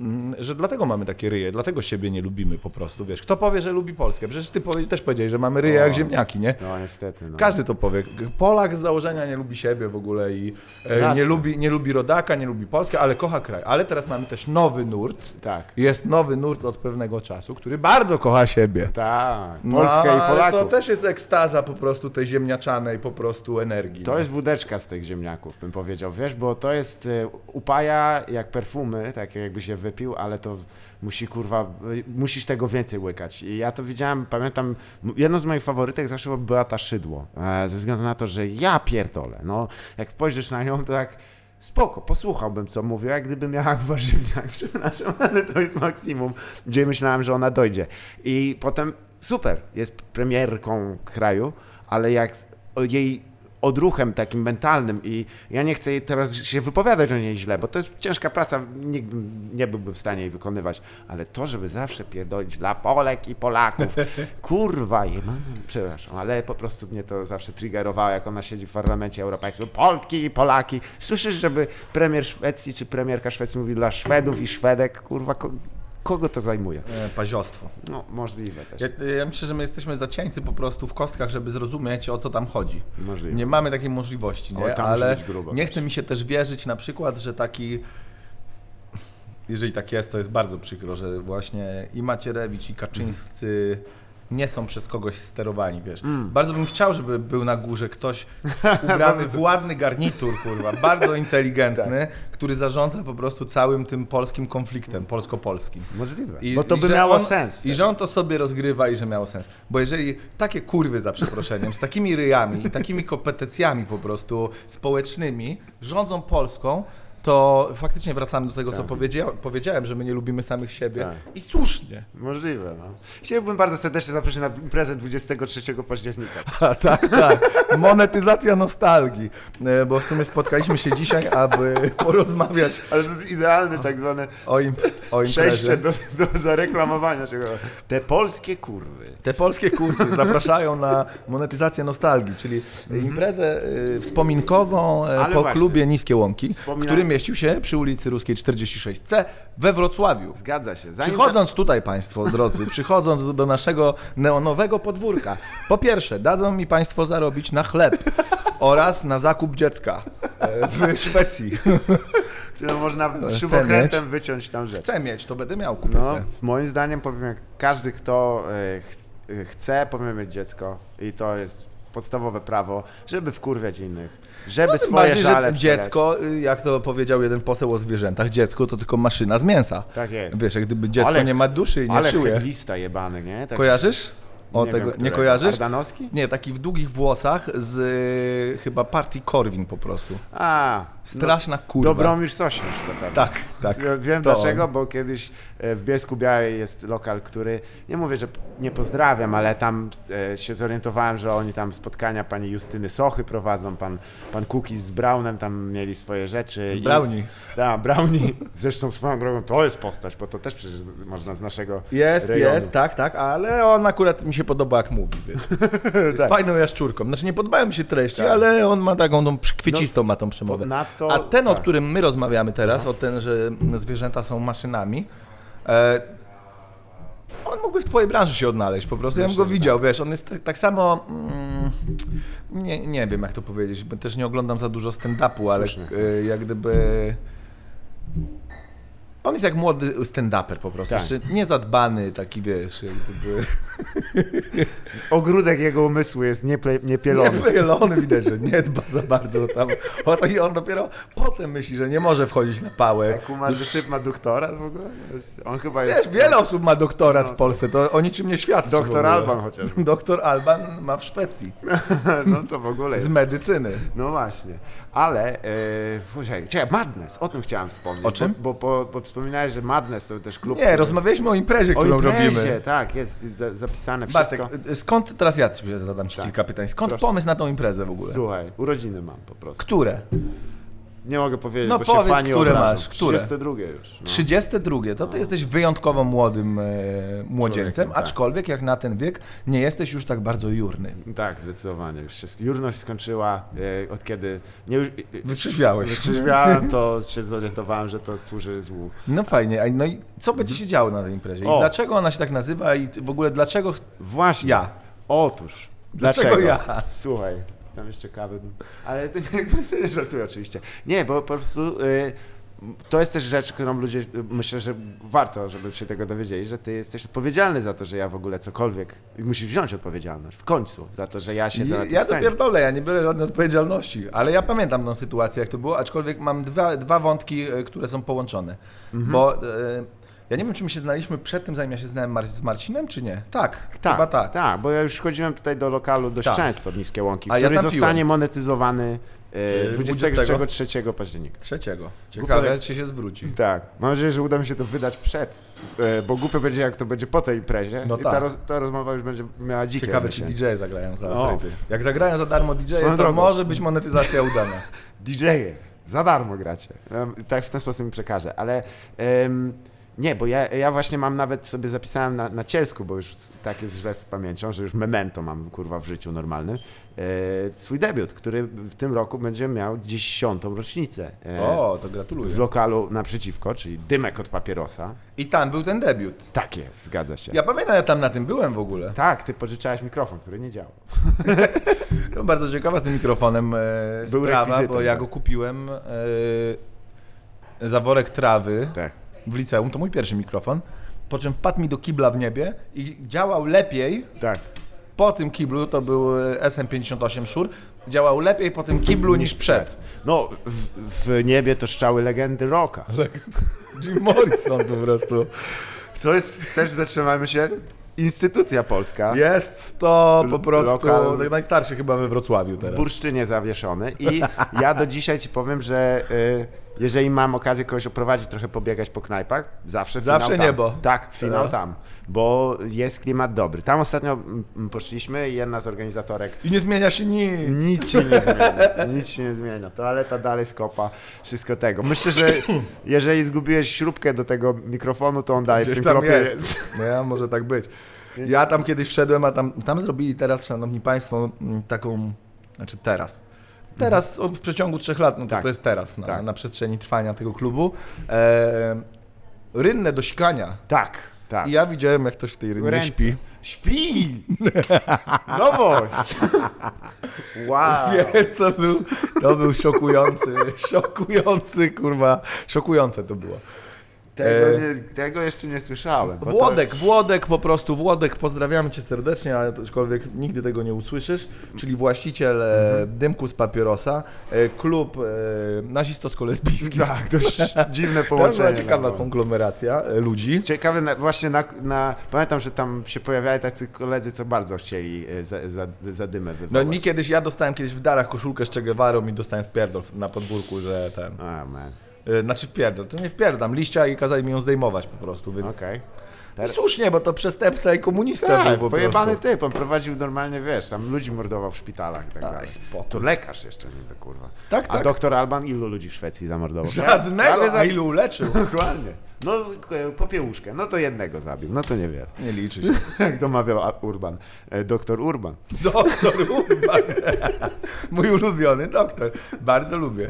mm, że dlatego mamy takie ryje, dlatego siebie nie lubimy po prostu, wiesz. Kto powie, że lubi Polskę? Przecież ty powie, też powiedziałeś, że mamy ryje O. jak ziemniaki, nie? No niestety. No. Każdy to powie. Polak z założenia nie lubi siebie w ogóle i e, nie Racja. lubi, nie lubi rodaka, nie lubi Polskę, ale kocha kraj. Ale teraz mamy też nowy nurt. Tak. Jest nowy nurt od pewnego czasu, który bardzo kocha siebie. Tak. No, Polska i ale Polaków. To też jest ekstaza po prostu tej ziemniaczanej po prostu energii. no. To jest wódeczka z tych ziemniaków, bym powiedział, wiesz, bo to jest, y, upaja jak perfumy, tak jakby się wypił, ale to musi, kurwa, y, musisz tego więcej łykać. I ja to widziałem, pamiętam, m- jedną z moich faworytek zawsze była ta szydło, e, ze względu na to, że ja pierdolę, no, jak spojrzysz na nią, to jak... Spoko, posłuchałbym, co mówiła, jak gdyby miała warzywniak, [LAUGHS] przepraszam, ale to jest maksimum, gdzie myślałem, że ona dojdzie. I potem, super, jest premierką kraju, ale jak z- o jej odruchem takim mentalnym i ja nie chcę jej teraz się wypowiadać o niej źle, bo to jest ciężka praca, nikt bym- nie byłbym w stanie jej wykonywać, ale to, żeby zawsze pierdolić dla Polek i [LAUGHS] Polaków, kurwa je mam, przepraszam, ale po prostu mnie to zawsze triggerowało, jak ona siedzi w parlamencie europejskim, Polki i Polaki, słyszysz, żeby premier Szwecji czy premierka Szwecji mówi dla Szwedów i Szwedek, kurwa, ko- kogo to zajmuje? E, Paziostwo. No, możliwe też, Ja, ja myślę, że my jesteśmy zacieńcy po prostu w kostkach, żeby zrozumieć, o co tam chodzi. możliwe. Nie mamy takiej możliwości, nie? Oj, tam musi ale być grubo. nie chce mi się też wierzyć na przykład, że taki. Jeżeli tak jest, to jest bardzo przykro, że właśnie i Macierewicz, i Kaczyńscy nie są przez kogoś sterowani, wiesz. Mm. Bardzo bym chciał, żeby był na górze [LAUGHS] ktoś ubrany w ładny garnitur, kurwa, bardzo [LAUGHS] inteligentny, Tak. który zarządza po prostu całym tym polskim konfliktem, polsko-polskim. Możliwe, I- bo to i by że miało on, sens. I że on to sobie rozgrywa i że miało sens. Bo jeżeli takie kurwy, za przeproszeniem, z takimi ryjami i takimi kompetencjami po prostu społecznymi rządzą Polską, to faktycznie wracamy do tego, co powiedzia- powiedziałem, że my nie lubimy samych siebie. Tak. I słusznie. [LAUGHS] Możliwe, no. Chciałbym bardzo serdecznie zaprosić na imprezę 23 października. A, tak, tak. Monetyzacja nostalgii. E, Bo w sumie spotkaliśmy się dzisiaj, aby porozmawiać Ale to jest idealne tak zwane o, im- o przejście imprezie. do, do zareklamowania czego. Te polskie kurwy. Te polskie [LAUGHS] kursy zapraszają na monetyzację nostalgii, czyli imprezę y, wspominkową y, Mhm. Ale po właśnie. klubie Niskie Łąki, Wspominam- który mieścił się przy ulicy Ruskiej 46C we Wrocławiu. Zgadza się. Zanim Przychodząc tutaj Państwo, drodzy, przychodząc do naszego neonowego podwórka, po pierwsze, dadzą mi Państwo zarobić na chleb oraz na zakup dziecka y, w Szwecji. to można Chcę szybokrętem wyciąć tam rzecz. Chcę mieć, to będę miał, kupię No, se. moim zdaniem powiem, jak każdy, kto e, ch- e, chce, powinien mieć dziecko. I to jest podstawowe prawo, żeby wkurwiać innych. Żeby No, Tym swoje bardziej, żale że przelać. dziecko, y, jak to powiedział jeden poseł o zwierzętach, dziecko to tylko maszyna z mięsa. Tak jest. Wiesz, jak gdyby dziecko Ale- nie ma duszy i nie Ale czuje. lista jebany, nie? Tak, Kojarzysz? O nie tego wiem, nie którego. kojarzysz? Ardanowski? Nie, taki w długich włosach z y, chyba partii Korwin po prostu. A, no, Straszna kurwa. Dobromir Sośnierz zapewne. Tak, tak. Ja Wiem to on. dlaczego, bo kiedyś e, w Bielsku Białej jest lokal, który, nie mówię, że p- nie pozdrawiam, ale tam e, się zorientowałem, że oni tam spotkania pani Justyny Sochy prowadzą, pan, pan Kukiz z Braunem tam mieli swoje rzeczy. i- Brownie. Tak, Brownie. Zresztą swoją drogą to jest postać, bo to też przecież z- można z naszego Jest, rejonu. jest, tak, tak, ale on akurat mi się podoba jak mówi, wiesz. [LAUGHS] Jest fajną jaszczurką. Znaczy nie podobają mi się treści, Tak. ale on ma taką tą kwiecistą ma tą przemowę. Ponadto- A ten, o tak. którym my rozmawiamy teraz, o ten, że mm, zwierzęta są maszynami, e, on mógłby w twojej branży się odnaleźć po prostu. Ja bym go widział, wiesz, on jest tak, tak samo... Mm, nie, nie wiem, jak to powiedzieć, bo też nie oglądam za dużo stand-upu, ale Słusznie. e, jak gdyby... On jest jak młody stand-uper po prostu, Tak. jeszcze niezadbany, taki wiesz, jak gdyby... Ogródek jego umysłu jest nieple- niepielony. Nie, Pielony widać, że nie dba za bardzo tam. O to i on dopiero potem myśli, że nie może wchodzić na pałę. Jak umarł, że typ ma doktora w ogóle? To jest- On chyba jest... Wiesz, wiele osób ma doktorat w Polsce, to o niczym nie świadczy. w No. Doktor ogóle. Alban chociażby. Doktor Alban ma w Szwecji [LAUGHS] No to w ogóle z jest. medycyny. No właśnie, ale e, słuchaj, czekaj, Madness, o tym chciałem wspomnieć. O czym? Bo, bo, bo, wspominałeś, że Madness to też klub. Nie, rozmawialiśmy o imprezie, o którą imprezie, robimy. e, tak, jest za, zapisane Bartek, wszystko. skąd, teraz ja ci zadam ci Tak. kilka pytań, skąd Proszę. pomysł na tą imprezę w ogóle? Słuchaj, urodziny mam po prostu. Które? Nie mogę powiedzieć, No bo się powiedz, fani które obrażą. masz, które? 32 już. No. 32, to ty jesteś wyjątkowo młodym e, młodzieńcem, Człowiekiem, tak. aczkolwiek jak na ten wiek nie jesteś już tak bardzo jurny. Tak, zdecydowanie. Już się, jurność skończyła, e, od kiedy nie już... Wytrzeźwiałeś. Wykrzywiałem, to się zorientowałem, że to służy złu. [LAUGHS] No fajnie, a no i co będzie się działo na tej imprezie? I O. dlaczego ona się tak nazywa i w ogóle dlaczego ch- Właśnie. ja? Otóż. Dlaczego ja? Słuchaj, tam jeszcze kawy. bym- Ale to nie [LAUGHS] żartuję oczywiście. Nie, bo po prostu y, to jest też rzecz, którą ludzie, y, myślę, że warto, żeby się tego dowiedzieli, że ty jesteś odpowiedzialny za to, że ja w ogóle cokolwiek, musisz wziąć odpowiedzialność w końcu za to, że ja się na tej Ja to scenie. pierdolę, ja nie biorę żadnej odpowiedzialności, ale ja pamiętam tą sytuację, jak to było, aczkolwiek mam dwa, dwa wątki, e, które są połączone. Mhm. Bo e, ja nie wiem, czy my się znaliśmy przed tym, zanim ja się znałem Mar- z Marcinem, czy nie? Tak, Tak, chyba tak. tak, bo ja już chodziłem tutaj do lokalu dość Tak. często w Niskie Łąki, A ja który tam zostanie piłem. monetyzowany y, Yy, 23 października. Trzeciego. Ciekawe, Głupio- czy się zwróci. Tak. Mam nadzieję, że uda mi się to wydać przed, e, bo głupio będzie, jak to będzie po tej imprezie. No I ta, tak. roz, ta rozmowa już będzie miała dzikie Ciekawe, czy myślę. DJ e zagrają za O. fryty. Jak zagrają za darmo DJ, Swoją to drogą. może być monetyzacja [LAUGHS] udana. DJ-e, za darmo gracie. Em, Tak w ten sposób mi przekażę, ale... em, nie, bo ja, ja właśnie mam nawet sobie zapisałem na, na cielsku, bo już s- tak jest źle z pamięcią, że już memento mam kurwa w życiu normalnym. E, swój debiut, który w tym roku będzie miał dziesiątą rocznicę. E, O, to w gratuluję. lokalu naprzeciwko, czyli dymek od papierosa. I tam był ten debiut. Tak jest, zgadza się. Ja pamiętam, ja tam na tym byłem w ogóle. Tak, ty pożyczałeś mikrofon, który nie działał. No, bardzo ciekawa z tym mikrofonem e, Był sprawa, rekwizytem, bo ja tak. go kupiłem e, za worek trawy Tak. w liceum, to mój pierwszy mikrofon, po czym wpadł mi do kibla w niebie i działał lepiej Tak. po tym kiblu, to był e, SM58 Shure, działał lepiej po tym kiblu niż przed. No, w, w niebie to strzały legendy rocka. Jim Morrison po prostu. To jest, też zatrzymajmy się, instytucja polska. Jest to po L- prostu lokal- tak najstarszy chyba we Wrocławiu teraz. W burszczynie zawieszony i ja do dzisiaj ci powiem, że y, jeżeli mam okazję kogoś oprowadzić, trochę pobiegać po knajpach, zawsze finał Zawsze tam. niebo. Tak, finał Tak. tam, bo jest klimat dobry. Tam ostatnio mm, poszliśmy i jedna z organizatorek I nie zmienia się nic. Nic się nie zmienia. Nic się nie zmienia. Toaleta dalej skopa, wszystko tego. Myślę, że jeżeli zgubiłeś śrubkę do tego mikrofonu, to on dalej w Gdzieś tym tam kropie jest. jest. [LAUGHS] No ja, może tak być. Ja tam kiedyś wszedłem, a tam, tam zrobili teraz, szanowni państwo, m, taką, znaczy teraz. Teraz o, w przeciągu trzech lat, no to, Mhm. Tak. to jest teraz, na, Tak. na przestrzeni trwania tego klubu. E, rynnę do sikania. Tak, tak. I ja widziałem, jak ktoś w tej rynnie Ręce. śpi. No Śpi! Nowość! Wow! [LAUGHS] Więc to był, to był szokujący, szokujący, kurwa, szokujące to było. Tego, nie, tego jeszcze nie słyszałem. bo No to- E, Włodek, Włodek, po prostu Włodek, pozdrawiamy cię serdecznie, ale to- aczkolwiek nigdy tego nie usłyszysz, czyli właściciel e, Mhm. Dymku z Papierosa, e, klub e, nazistosko-lesbijski. Tak, dość dziwne [LAUGHS] To połączenie. była ciekawa no. konglomeracja e, ludzi. Ciekawe na, właśnie na, na... Pamiętam, że tam się pojawiali tacy koledzy, co bardzo chcieli e, za, za, za dymę No wywołać. i mi kiedyś, ja dostałem kiedyś w darach koszulkę z Che Guevarą i dostałem w pierdol na podwórku, że ten, A, man. e, znaczy w pierdol, to nie w pierdam, liścia i kazali mi ją zdejmować po prostu, więc... Okej. I słusznie, bo to przestępca i komunista Tak, był po pojebany prostu. typ, on prowadził normalnie, wiesz, tam ludzi mordował w szpitalach i tak Daj dalej. spokój. To lekarz jeszcze niby, kurwa. Tak, A tak. doktor Alban ilu ludzi w Szwecji zamordował? Żadnego, a Prawie ilu uleczył? za- [LAUGHS] Dokładnie. No, k- popiełuszkę, no to jednego zabił, no to niewiele. Nie liczy się. [LAUGHS] Jak domawiał A- Urban, e, doktor Urban. Doktor Urban. Mój ulubiony doktor. Bardzo lubię.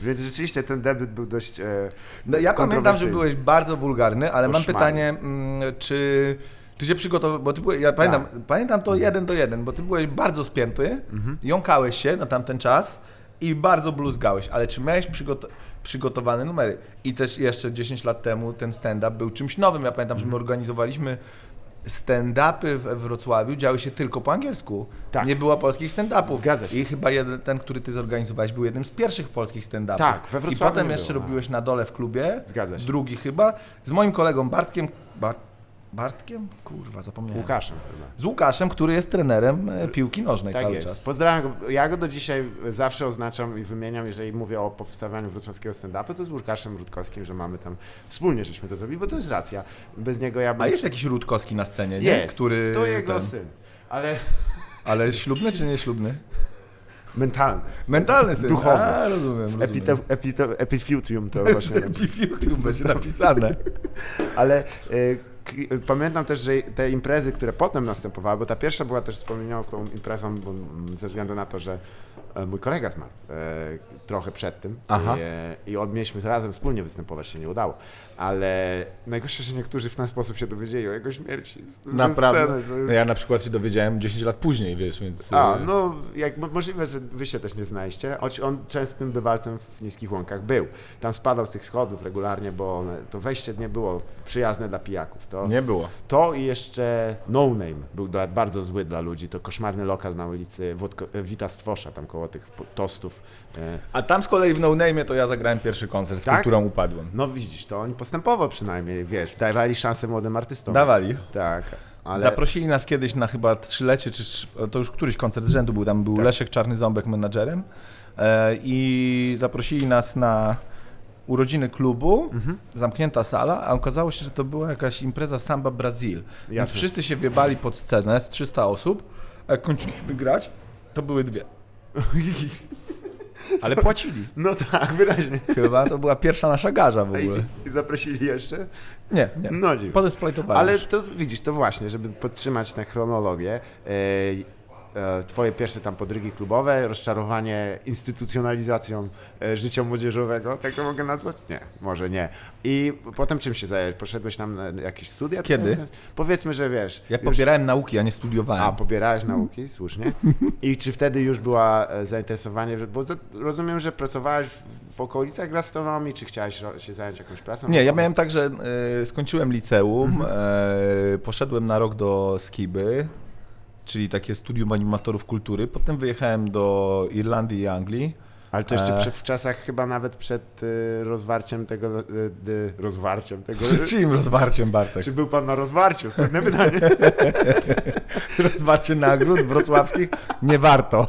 Więc rzeczywiście ten debiut był dość e, No, ja pamiętam, że kontrowersyjny. byłeś bardzo wulgarny, ale mam Koszmarny. pytanie, mm, czy, czy się przygotowałeś, bo ty byłeś, ja Tak. pamiętam, pamiętam Mhm. to jeden do jeden, bo ty byłeś bardzo spięty, jąkałeś się na tamten czas i bardzo bluzgałeś, ale czy miałeś przygoto- przygotowane numery? I też jeszcze 10 lat temu ten stand-up był czymś nowym. Ja pamiętam, Mhm. że my organizowaliśmy stand-upy we Wrocławiu, działy się tylko po angielsku. Tak. Nie było polskich stand-upów. Zgadza się. I chyba jeden, ten, który ty zorganizowałeś, był jednym z pierwszych polskich stand-upów. Tak, we Wrocławiu I potem nie jeszcze było, robiłeś na dole w klubie. Zgadza się. Drugi chyba. Z moim kolegą Bartkiem. Ba... Bartkiem? Kurwa, zapomniałem. Łukaszem chyba. Z Łukaszem, który jest trenerem e, piłki nożnej Tak cały jest. czas. Pozdrawiam go. Ja go do dzisiaj zawsze oznaczam i wymieniam, jeżeli mówię o powstawaniu wrocławskiego stand-upu, to z Łukaszem Rutkowskim, że mamy tam, wspólnie żeśmy to zrobili, bo to jest racja. Bez niego ja bym... A jest jakiś Rutkowski na scenie, nie? Jest. Który To jego ten- syn. Ale Ale ślubny czy nieślubny? mentalny. Mentalny syn. Duchowy. A, rozumiem, rozumiem. [LAUGHS] Epite, [LAUGHS] epite, epifiltrium to właśnie. Epifiutum będzie napisane. Ale y, k- y, pamiętam też, że te imprezy, które potem następowały, bo ta pierwsza była też wspomnienioną imprezą bo, mm, ze względu na to, że e, mój kolega zmarł e, trochę przed tym Aha. I, e, i od- mieliśmy razem wspólnie występować, się nie udało. Ale najgorsze, że niektórzy w ten sposób się dowiedzieli o jego śmierci. Z, ze Naprawdę. Sceny, to jest... No Ja na przykład się dowiedziałem 10 lat później, wiesz, więc... A, e, no, jak mo- możliwe, że wy się też nie znaliście, choć on częstym bywalcem w niskich łąkach był. Tam spadał z tych schodów regularnie, bo one, to wejście nie było przyjazne dla pijaków. To, Nie było. to i jeszcze No Name był dla, bardzo zły dla ludzi. To koszmarny lokal na ulicy Wodko, Wita Stwosza, tam koło tych po- tostów. E, A tam z kolei w No Name to ja zagrałem pierwszy koncert, z Tak? kulturą upadłem. No widzisz, to oni postępowo przynajmniej, wiesz, dawali szansę młodym artystom. Dawali. Tak, ale... Zaprosili nas kiedyś na chyba trzylecie, czy trz- to już któryś koncert z rzędu był, tam Tak. był Leszek Czarny Ząbek menadżerem e, i zaprosili nas na urodziny klubu, Mhm. zamknięta sala, a okazało się, że to była jakaś impreza Samba Brazil, więc Jasne. wszyscy się wiebali pod scenę z 300 osób, a jak kończyliśmy grać, to były [LAUGHS] dwie. Ale płacili. No tak, wyraźnie. Chyba to była pierwsza nasza garza w ogóle. I, i zaprosili jeszcze? Nie, nie. No dziwne. Potem splajtowali. Ale to widzisz, to właśnie, żeby podtrzymać tę chronologię, e, e, twoje pierwsze tam podrygi klubowe, rozczarowanie instytucjonalizacją e, życia młodzieżowego, tak to mogę nazwać? Nie, może nie. I potem czym się zająłeś? Poszedłeś tam na jakieś studia? Kiedy? Powiedzmy, że wiesz... Ja już- pobierałem nauki, a nie studiowałem. a, pobierałeś nauki, słusznie. I czy wtedy już była e, zainteresowanie, że- bo za, rozumiem, że pracowałeś w, w okolicach gastronomii, czy chciałeś ro- się zająć jakąś pracą? Nie, ja miałem tak, że e, skończyłem liceum, Mhm. e, poszedłem na rok do Skiby, czyli takie studium animatorów kultury, potem wyjechałem do Irlandii i Anglii. Ale to jeszcze E. przy, w czasach chyba nawet przed y, rozwarciem tego, y, y, rozwarciem tego, y, Przed czyim rozwarciem, Bartek? czy był pan na rozwarciu? [LAUGHS] Słynne pytanie. Rozwarcie nagród wrocławskich? Nie warto.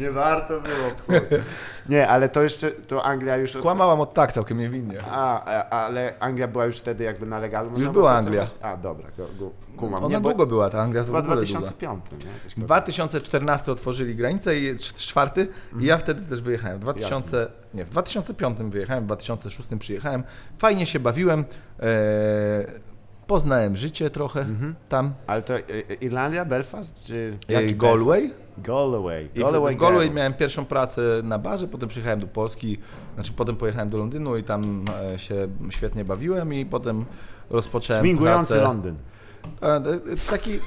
Nie warto było. wchodzić. Nie, ale to jeszcze, to Anglia już... Kłamałam od tak, całkiem niewinnie. A, a, ale Anglia była już wtedy jakby na legalu. można była było pracować? A, dobra, go, go, kumam. Ona nie, bo, długo była, ta Anglia to w chyba ogóle długa. 2005, nie? Coś koło- 2014 otworzyli granicę i cz- czwarty i Mhm. ja wtedy też wyjechałem. W 2000, nie, w 2005 wyjechałem, w 2006 przyjechałem. Fajnie się bawiłem. E, poznałem życie trochę tam. Ale to y, y, Irlandia, Belfast czy... E, Galway. Galway. I w, w Galway Girl. miałem pierwszą pracę na barze, potem przyjechałem do Polski, znaczy potem pojechałem do Londynu i tam e, się świetnie bawiłem i potem rozpocząłem Swingujący pracę. Londyn. E, e, Taki,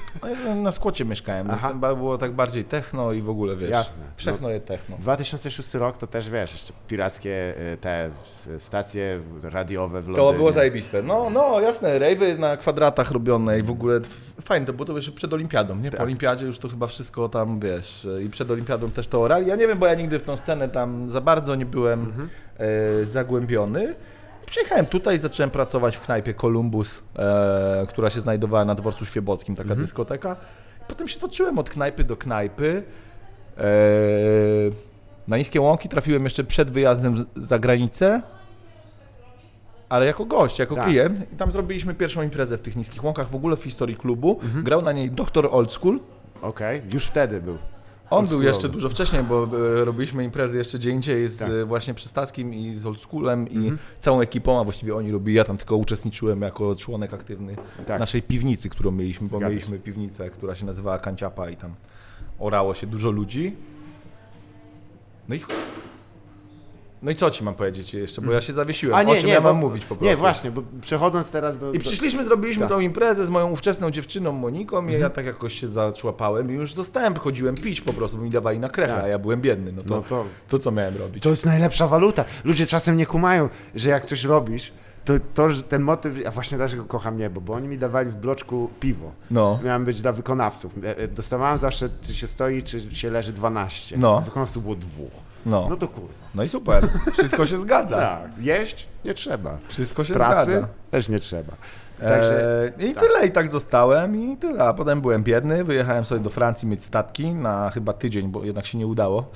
e, na skłocie mieszkałem, Aha. więc tam ba- było tak bardziej techno i w ogóle, wiesz, Jasne. No. wszechno je techno. 2006 rok to też wiesz, jeszcze pirackie y, te s- stacje radiowe w Londynie. To było zajebiste. No, no, jasne, rejwy na kwadratach robione i w ogóle f- fajne, to było to jeszcze przed olimpiadą, nie? Tak. Po olimpiadzie już to chyba wszystko tam, wiesz, i przed olimpiadą też to orali. Ja nie wiem, bo ja nigdy w tą scenę tam za bardzo nie byłem Mhm. e, zagłębiony. Przyjechałem tutaj, zacząłem pracować w knajpie Columbus, e, która się znajdowała na dworcu Świebockim, taka Mhm. dyskoteka. Potem się toczyłem od knajpy do knajpy. E, na Niskie Łąki trafiłem jeszcze przed wyjazdem z- za granicę, ale jako gość, jako Tak. klient. I tam zrobiliśmy pierwszą imprezę w tych Niskich Łąkach, w ogóle w historii klubu. Grał na niej doktor Old School. Okej, już wtedy był. On był Oldschoolowy. jeszcze dużo wcześniej, bo e, robiliśmy imprezy jeszcze gdzie indziej z Tak. e, właśnie Przystackim i z Oldschoolem i Mhm. całą ekipą, a właściwie oni robili, ja tam tylko uczestniczyłem jako członek aktywny Tak. naszej piwnicy, którą mieliśmy, bo Zgadza się. mieliśmy piwnicę, która się nazywała Kanciapa i tam orało się dużo ludzi. No i chuj. No i co ci mam powiedzieć jeszcze, bo ja się zawiesiłem, o czym ja mam bo- mówić po prostu. Mhm. Nie, właśnie, bo przechodząc teraz do... I przyszliśmy, zrobiliśmy Tak. Mhm. tą imprezę z moją ówczesną dziewczyną Moniką i ja tak jakoś się zaczłapałem i już zostałem, chodziłem pić po prostu, bo mi dawali na krechę, Tak. a ja byłem biedny, no to, No to... to- co miałem robić? To jest najlepsza waluta. Ludzie czasem nie kumają, że jak coś robisz, to, to że ten motyw, a właśnie dlaczego kocham niebo, bo oni mi dawali w bloczku piwo. No. Miałem być dla wykonawców. E, e, Dostawałem zawsze, czy się stoi, czy się leży 12. No. Wykonawców było dwóch. No. No to kurwa. No i super, wszystko się zgadza, Tak. Jeść nie trzeba. wszystko się Pracy zgadza. też nie trzeba. Także- E, I tak. tyle, i tak zostałem i tyle. A potem byłem biedny, wyjechałem sobie do Francji mieć statki na chyba tydzień, bo jednak się nie udało.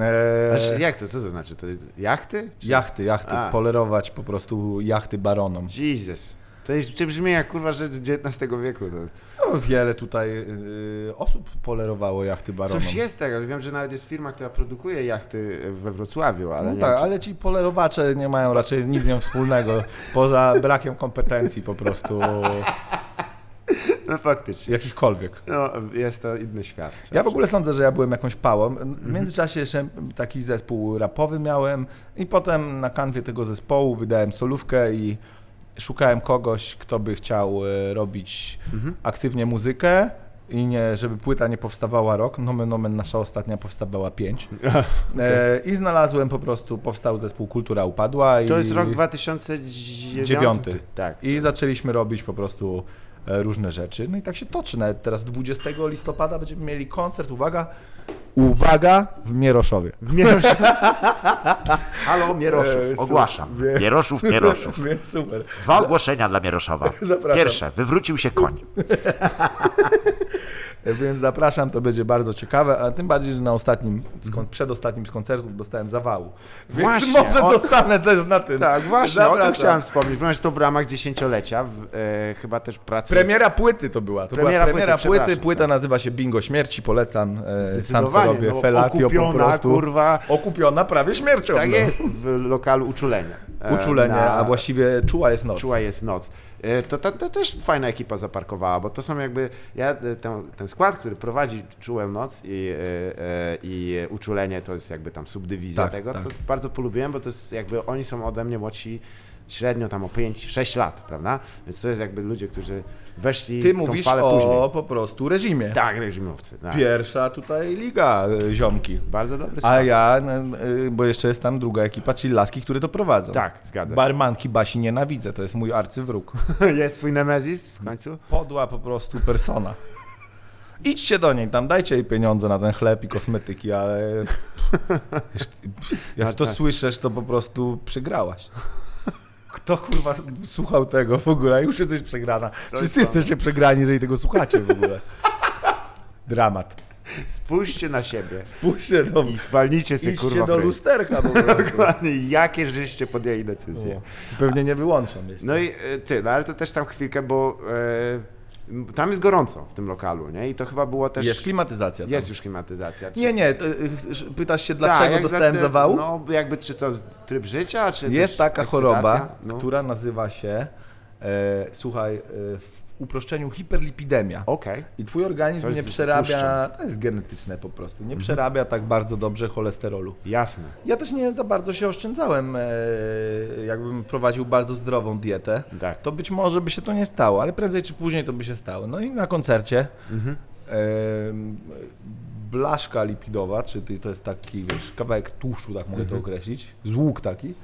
E, Znaczy, jak to, co to znaczy? To jachty? Czy- Jachty, jachty, A. polerować po prostu jachty baronom. Jesus. To jest, czy brzmi jak kurwa rzecz z XIX wieku. To. No, wiele tutaj y, osób polerowało jachty baronom. Coś jest tego, ale wiem, że nawet jest firma, która produkuje jachty we Wrocławiu, ale No nie tak, wiem, ale ci polerowacze nie mają raczej nic z nią wspólnego, poza brakiem kompetencji po [LAUGHS] prostu czy... No faktycznie. jakichkolwiek. No, jest to inny świat. Ja w ogóle sądzę, że ja byłem jakąś pałą. Mhm. W międzyczasie jeszcze taki zespół rapowy miałem i potem na kanwie tego zespołu wydałem solówkę i szukałem kogoś, kto by chciał e, robić Mhm. aktywnie muzykę i nie, żeby płyta nie powstawała rok. Nomen omen nasza ostatnia powstawała [LAUGHS] pięć. E, I znalazłem po prostu, powstał zespół Kultura Upadła. To i... jest rok 2009. Dziewiąty. Tak. [LAUGHS] I zaczęliśmy robić po prostu e, różne rzeczy. No i tak się toczy. Nawet teraz 20 listopada będziemy mieli koncert. Uwaga! Uwaga [LAUGHS] w Mieroszowie. W Mierosz... Halo, Eee, Mieroszów, su- ogłaszam. Mieroszów, Mieroszów. Więc super. Dwa ogłoszenia dla [LAUGHS] Mieroszowa. Zapraszam. Pierwsze, wywrócił się koń. E, Więc zapraszam, to będzie bardzo ciekawe, a tym bardziej, że na ostatnim, z kon- przedostatnim z koncertów dostałem zawału. Więc Właśnie, może o- dostanę też na tym. Tak, właśnie, o tym Zapraszam. chciałem wspomnieć, ponieważ to w ramach dziesięciolecia, w, e, chyba też pracy... Premiera płyty to była. To Premiera była premiera płyty, płyty. przepraszam, tak. Płyta nazywa się Bingo Śmierci, polecam. E, sam sobie Zdecydowanie, robię no, felatio po okupiona, prostu. kurwa. Okupiona prawie śmiercią. Tak no. jest, w lokalu uczulenia. E, Uczulenie, na- a właściwie czuła jest noc. Czuła jest noc. E, To, to, to też fajna ekipa zaparkowała, bo to są jakby. Ja, e, ten, ten skład, który prowadzi Czułem Noc i, e, e, i uczulenie, to jest jakby tam subdywizja Tak, tego. tak. To bardzo polubiłem, bo to jest jakby oni są ode mnie młodsi średnio tam o 5-6 lat, prawda? Więc to jest jakby ludzie, którzy weszli Ty tą mówisz falę o później. po prostu reżimie. Tak, reżimowcy. Tak. Pierwsza tutaj liga y, ziomki. Bardzo dobry skład. A ja, y, y, bo jeszcze jest tam druga ekipa, czyli laski, które to prowadzą. Tak, zgadza się. Barmanki Basi nienawidzę, to jest mój arcywróg. [LAUGHS] jest twój Nemezis w końcu? Podła po prostu persona. Idźcie do niej, tam dajcie jej pieniądze na ten chleb i kosmetyki, ale Tak, jak to słyszysz, to po prostu przegrałaś. Kto kurwa słuchał tego w ogóle? Już jesteś przegrana. Wszyscy to- jesteście przegrani, jeżeli tego słuchacie w ogóle. Dramat. Spójrzcie na siebie Spójrzcie do i spalnijcie sobie Idźcie kurwa. do fryj. lusterka [LAUGHS] po prostu. Dokładnie, jakie żeście podjęli decyzje. No. Pewnie nie wyłączam jeszcze. No i e, ty, no ale to też tam chwilkę, bo e, m, tam jest gorąco w tym lokalu, nie? I to chyba było też... Jest klimatyzacja tam. jest już klimatyzacja. czy- Nie, nie, to, y, y, pytasz się Tak, dlaczego jak dostałem za- zawału? No jakby czy to z- tryb życia, czy Jest też taka ekscytacja? choroba, No. która nazywa się, e, słuchaj, e, w uproszczeniu hiperlipidemia. Okej. I twój organizm Coś nie z przerabia, tłuszczem. Mhm. to jest genetyczne po prostu, nie przerabia tak bardzo dobrze cholesterolu. Jasne. Ja też nie za bardzo się oszczędzałem, e, jakbym prowadził bardzo zdrową dietę, Tak. to być może by się to nie stało, ale prędzej czy później to by się stało. No i na koncercie e, blaszka lipidowa, czy ty- to jest taki wiesz, kawałek tłuszczu, tak mogę to określić, z łuk taki,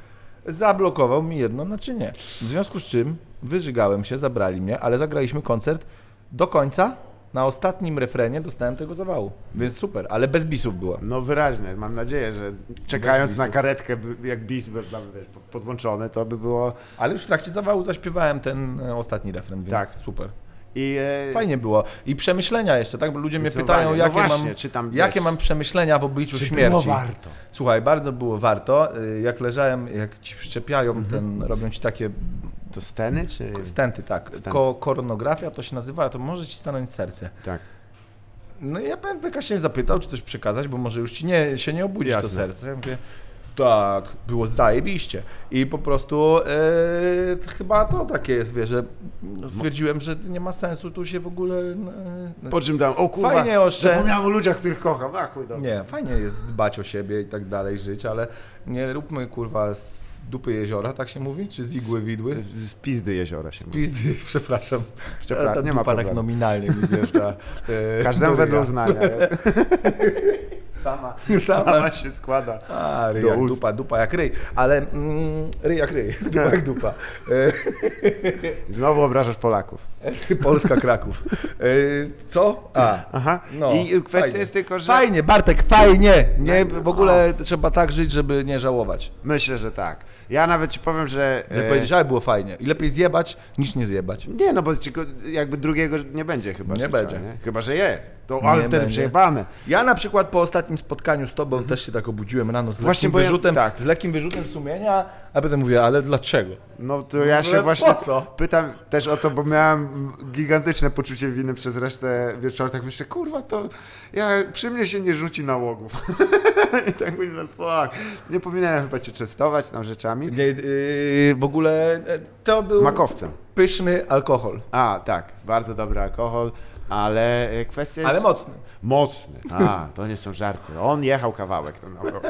zablokował mi jedno naczynie. W związku z czym wyżygałem się, zabrali mnie, ale zagraliśmy koncert do końca. Na ostatnim refrenie dostałem tego zawału, więc super, ale bez bisów była. No wyraźnie, mam nadzieję, że czekając Bez na bisów. karetkę, by- jak bis był tam wiesz, po- podłączony, to by było... Ale już w trakcie zawału zaśpiewałem ten e, ostatni refren, więc Tak. super. I, e, Fajnie było. I przemyślenia jeszcze, tak? Bo ludzie mnie Zdecydowanie. pytają, No jakie, właśnie, mam, czy tam jakie też- mam przemyślenia w obliczu Czy śmierci. było warto? Słuchaj, bardzo było warto. Y, Jak leżałem, jak ci wszczepiają Mhm. ten, robią ci takie To sceny, czy... stenty, tak. Stenty. Ko koronografia to się nazywa, to może ci stanąć serce. Tak. No i ja pan lekarz się zapytał, czy coś przekazać, bo może już ci nie, się nie obudzić Jasne. to serce. Ja mówię, tak, było zajebiście. I po prostu e, to chyba to takie jest, wiesz, że stwierdziłem, że nie ma sensu tu się w ogóle... E, Po czym dam, o kurwa, Fajnie oszczę- zapomniałem o ludziach, których kocham, a chuj dobra. nie, fajnie jest dbać o siebie i tak dalej, żyć, ale nie róbmy kurwa z dupy jeziora, tak się mówi, czy z igły widły? Z pizdy jeziora się mówi. Pizdy, [LAUGHS] przepraszam. Przepraszam, Ta nie ma dupa tak problemu. nominalnie mi wjeżdża. [LAUGHS] e, Każdemu do wedle ryja. uznania. sama, Sama. sama się składa. A, ryj Do jak ust. dupa, dupa jak ryj, ale mm, ryj jak ryj, [LAUGHS] dupa jak dupa. Znowu obrażasz Polaków. E, [LAUGHS] Polska Kraków. E, Co? A. Aha. No, I y, kwestia fajnie. jest tylko, że No. Fajnie, Bartek, fajnie. Nie, w ogóle trzeba tak żyć, żeby nie żałować. myślę, że tak. Ja nawet ci powiem, że... Jak e, powiedziałeś, było fajnie. I lepiej zjebać, niż nie zjebać. Nie, no bo ci, ko- jakby drugiego nie będzie chyba. Nie życia, będzie. Nie? Chyba, że jest. To, ale Nie wtedy będzie. przejebane. Ja na przykład po ostatnim spotkaniu z tobą też się tak obudziłem rano z lekkim, Właśnie, bo ja- wyrzutem, tak. z lekkim wyrzutem sumienia, a potem mówię, ale dlaczego? No to ja ogóle się właśnie po co? pytam też o to, bo miałem gigantyczne poczucie winy przez resztę wieczoru. Tak myślę, kurwa, to ja, przy mnie się nie rzuci nałogów. [LAUGHS] I tak myślę, fuck, nie powinienem chyba cię częstować tam rzeczami. Nie, yy, w ogóle e, to był Makowcem. pyszny alkohol, A, tak, bardzo dobry alkohol, ale e, kwestia jest... ale mocny. Mocny. A, to nie są żarty. On jechał kawałek. Ten alkohol.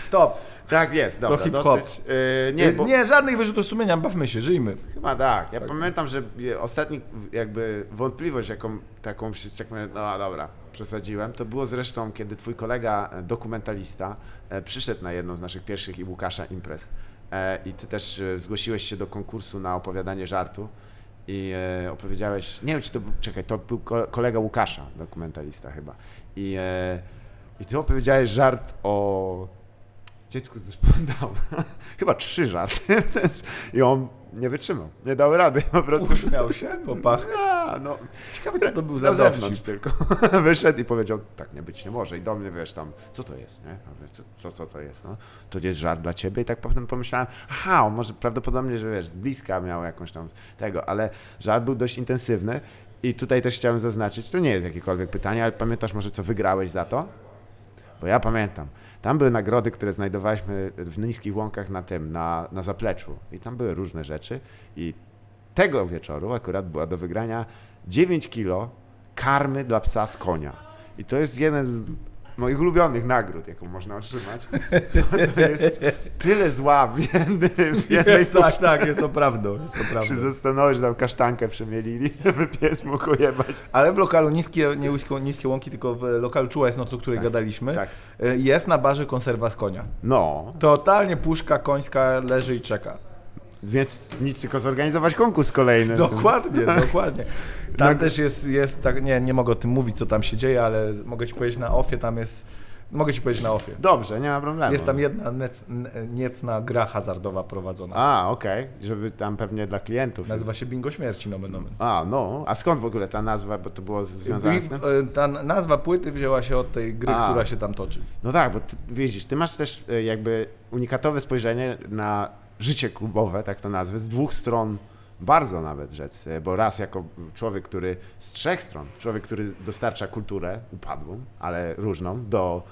Stop. tak jest, dobra. hip-hop. dosyć, e, Nie, nie, bo... nie żadnych wyrzutów sumienia, bawmy się, żyjmy. Chyba tak. Ja pamiętam, że je- ostatni jakby wątpliwość, jaką taką się tak mówię, no dobra, przesadziłem, to było zresztą, kiedy twój kolega e, dokumentalista e, przyszedł na jedną z naszych pierwszych i Łukasza imprez. E, I ty też e, zgłosiłeś się do konkursu na opowiadanie żartu i e, opowiedziałeś, nie wiem czy to był, czekaj, to był ko- kolega Łukasza, dokumentalista chyba. I, e, i ty opowiedziałeś żart o dziecku z zespołem Downa. [LAUGHS] Chyba trzy żarty. [LAUGHS] I on nie wytrzymał. Nie dał rady po prostu. Uśmiał się, popach. A, no, Ciekawe, co to był za na zewnątrz dowcip. tylko. [LAUGHS] Wyszedł i powiedział, tak nie być nie może. I do mnie, wiesz, tam, co to jest, nie? Ja mówię, Co, co, co to jest, no? To jest żart dla ciebie. I tak potem pomyślałem, aha, on może prawdopodobnie, że wiesz, z bliska miał jakąś tam tego, ale żart był dość intensywny. I tutaj też chciałem zaznaczyć, to nie jest jakiekolwiek pytanie, ale pamiętasz może, co wygrałeś za to? Bo ja pamiętam, tam były nagrody, które znajdowaliśmy w niskich łąkach na tym, na, na zapleczu. I tam były różne rzeczy. I tego wieczoru akurat była do wygrania 9 kilo karmy dla psa z konia. I to jest jeden z moich ulubionych nagród, jaką można otrzymać. [LAUGHS] To jest tyle zła w jednym, w jednej [LAUGHS] Jest, tak, tak, jest to prawdą, jest to Czy prawdą. zastanowisz, że tam kasztankę przemielili, [LAUGHS] żeby pies mógł ojebać? Ale w lokalu niskie, nie niskie, niskie łąki, tylko w lokalu czuła jest noc, o której gadaliśmy. tak. e, Jest na barze konserwa z konia. No, Totalnie puszka końska leży i czeka. więc nic, tylko zorganizować konkurs kolejny. [LAUGHS] Dokładnie, no. dokładnie. Tam Nag- też jest, jest tak, nie, nie mogę o tym mówić, co tam się dzieje, ale mogę ci powiedzieć na ofie, tam jest, mogę ci powiedzieć na ofie. Dobrze, nie ma problemu. Jest tam jedna nec, n- niecna gra hazardowa prowadzona. A, okej, żeby tam pewnie dla klientów. Nazywa się Bingo Śmierci, nomen omen. A, no. A skąd w ogóle ta nazwa, bo to było związane z tym? I- e, Ta nazwa płyty wzięła się od tej gry, No A. która się tam toczy. No tak, bo ty, widzisz, ty masz też e, jakby unikatowe spojrzenie na życie klubowe, tak to nazwę, z dwóch stron bardzo nawet rzec, e, bo raz jako człowiek, który z trzech stron, człowiek, który dostarcza kulturę upadłą, ale różną, do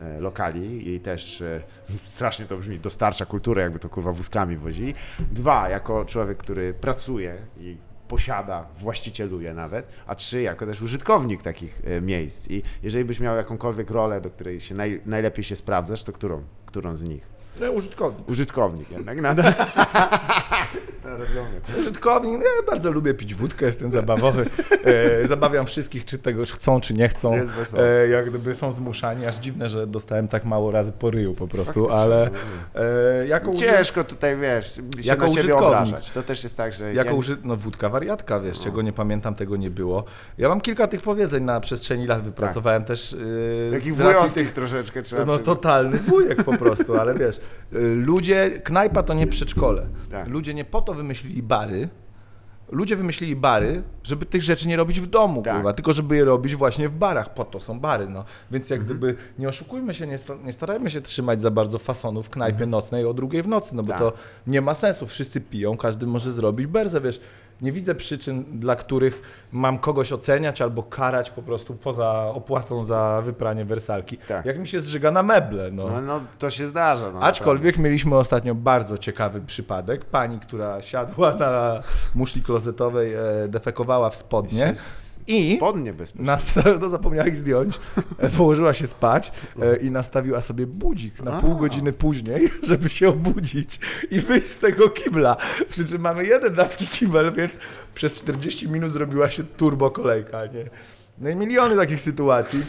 e, lokali i też e, [LAUGHS] strasznie to brzmi, dostarcza kulturę, jakby to kurwa wózkami wozi. Dwa, jako człowiek, który pracuje i posiada, właścicieluje nawet, a trzy, jako też użytkownik takich e, miejsc. I jeżeli byś miał jakąkolwiek rolę, do której się naj, najlepiej się sprawdzasz, to którą, którą z nich? No, użytkownik. Użytkownik jednak nadal. No, rozumiem. Użytkownik, no, ja bardzo lubię pić wódkę, jestem zabawowy. E, zabawiam wszystkich, czy tego już chcą, czy nie chcą. Jest wesoło. E, jak gdyby są zmuszani. Aż dziwne, że dostałem tak mało razy po ryju po prostu, Faktycznie, ale e, jako, uży, Ciężko tutaj, wiesz, się Jako na siebie użytkownik. obrażać. To też jest tak, że jako ja- No. uży, no, wódka wariatka, wiesz, czego nie pamiętam, tego nie było. Ja mam kilka tych powiedzeń na przestrzeni lat, wypracowałem też e, Tak. takich z racji wojowskich troszeczkę trzeba No przyznać. totalny wujek po prostu, ale wiesz, y, ludzie, knajpa to nie przedszkole. Tak. Ludzie nie po to wymyślili bary, ludzie wymyślili bary, żeby tych rzeczy nie robić w domu, Tak. kurwa, tylko żeby je robić właśnie w barach, po to są bary, no. Więc Mhm. jak gdyby, nie oszukujmy się, nie, sta- nie starajmy się trzymać za bardzo fasonu w knajpie nocnej o drugiej w nocy, no bo Mhm. Tak. to nie ma sensu, wszyscy piją, każdy może zrobić berzę, wiesz. Nie widzę przyczyn, dla których mam kogoś oceniać albo karać po prostu poza opłatą za wypranie wersalki. Tak. Jak mi się zżyga na meble, no. No, no to się zdarza. No, Aczkolwiek mieliśmy ostatnio bardzo ciekawy przypadek. Pani, która siadła na muszli klozetowej, e, defekowała w spodnie i Spodnie bezpiecznie. [LAUGHS] nastawiono, zapomniała ich zdjąć, e, położyła się spać No. e, i nastawiła sobie budzik na pół godziny później, [LAUGHS] żeby się obudzić i wyjść z tego kibla. Przy czym mamy jeden damski kibel, więc przez 40 minut zrobiła się turbo kolejka, nie? No i miliony takich sytuacji.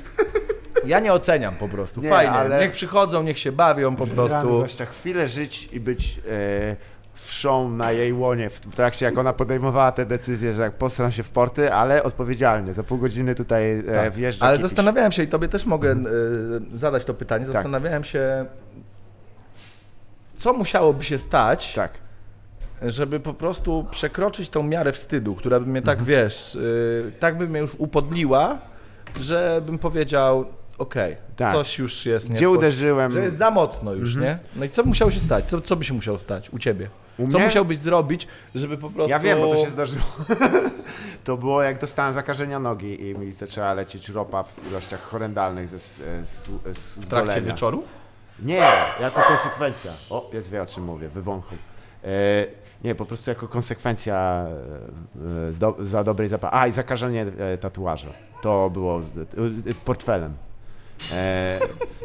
Ja nie oceniam po prostu. Nie, Fajnie. ale- Niech przychodzą, niech się bawią po Rany, prostu. gościa, chwilę żyć i być e, wszą na jej łonie w, w trakcie, jak ona podejmowała te decyzje, że jak posram się w porty, ale odpowiedzialnie. Za pół godziny tutaj e, Tak. wjeżdża Ale kipisz. zastanawiałem się i tobie też mogę y, zadać to pytanie. Tak. Zastanawiałem się, co musiałoby się stać, Tak. żeby po prostu przekroczyć tą miarę wstydu, która by mnie Mhm. tak, wiesz, y, tak by mnie już upodliła, żebym powiedział, okej, Tak. coś już jest nie Gdzie w porządku. uderzyłem? Mhm. Że jest za mocno już, nie? No i co by musiało się stać? Co, co by się musiało stać u ciebie? U co mnie? musiałbyś zrobić, żeby po prostu... Ja wiem, bo to się zdarzyło. [LAUGHS] to było jak dostałem zakażenia nogi i mi zaczęła lecieć ropa w ilościach horrendalnych ze, z, z, e, z, W trakcie zgolenia. wieczoru? Nie, jako konsekwencja. O, pies wie o czym mówię, wywąchał. E, nie, po prostu jako konsekwencja e, e, z do, za dobrej zapasy. A, i zakażenie e, tatuaża. To było z, e, e, portfelem. E,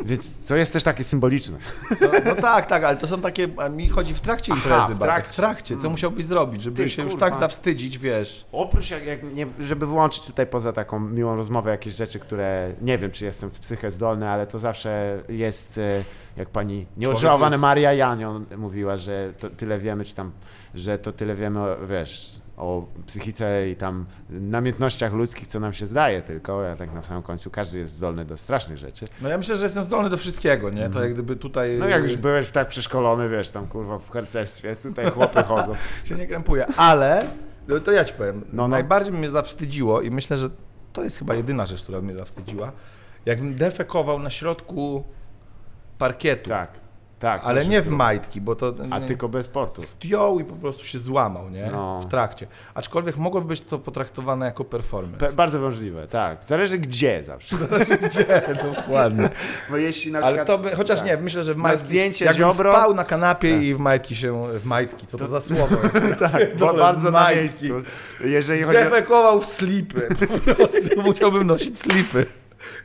więc co jest też takie symboliczne. No, no tak, tak, ale to są takie... a Mi chodzi w trakcie Aha, imprezy. w Bartek, trakcie. Mm. w trakcie. Co musiałbyś zrobić, żeby Ty, się już kurwa. tak zawstydzić, wiesz? Oprócz, jak, jak nie, żeby wyłączyć tutaj poza taką miłą rozmowę jakieś rzeczy, które nie wiem, czy jestem w psychę zdolny, ale to zawsze jest, e, jak pani nieodżałowana jest- Maria Janion mówiła, że to tyle wiemy, czy tam, że to tyle wiemy, o, wiesz, o psychice i tam namiętnościach ludzkich, co nam się zdaje tylko, a tak na samym końcu każdy jest zdolny do strasznych rzeczy. No ja myślę, że jestem zdolny do wszystkiego, nie? To jak gdyby tutaj... Mhm. No jak już byłeś tak przeszkolony, wiesz, tam kurwa w harcerstwie, tutaj chłopy [LAUGHS] chodzą. się nie krępuje, ale no to ja ci powiem, No, no. najbardziej mnie zawstydziło i myślę, że to jest chyba jedyna rzecz, która mnie zawstydziła, jakbym defekował na środku parkietu, Tak, tak. to ale się nie w zgru- majtki, bo to A nie, tylko bez portu. zdjął i po prostu się złamał, nie? No. W trakcie. Aczkolwiek mogłoby być to potraktowane jako performance. Pe- bardzo możliwe, tak. Zależy gdzie zawsze. Dokładnie. [LAUGHS] Bo jeśli na [LAUGHS] Ale przykład... to by, chociaż tak. nie, myślę, że w Na majtki, zdjęcie jakbym ziobro- spał na kanapie i w majtki się, w majtki, co to, za słowo jest? [LAUGHS] [LAUGHS] Tak, bo Dole, bardzo na majtki. miejscu. Jeżeli chodzi o... Defekował w slipy. Po prostu [LAUGHS] musiałbym nosić slipy.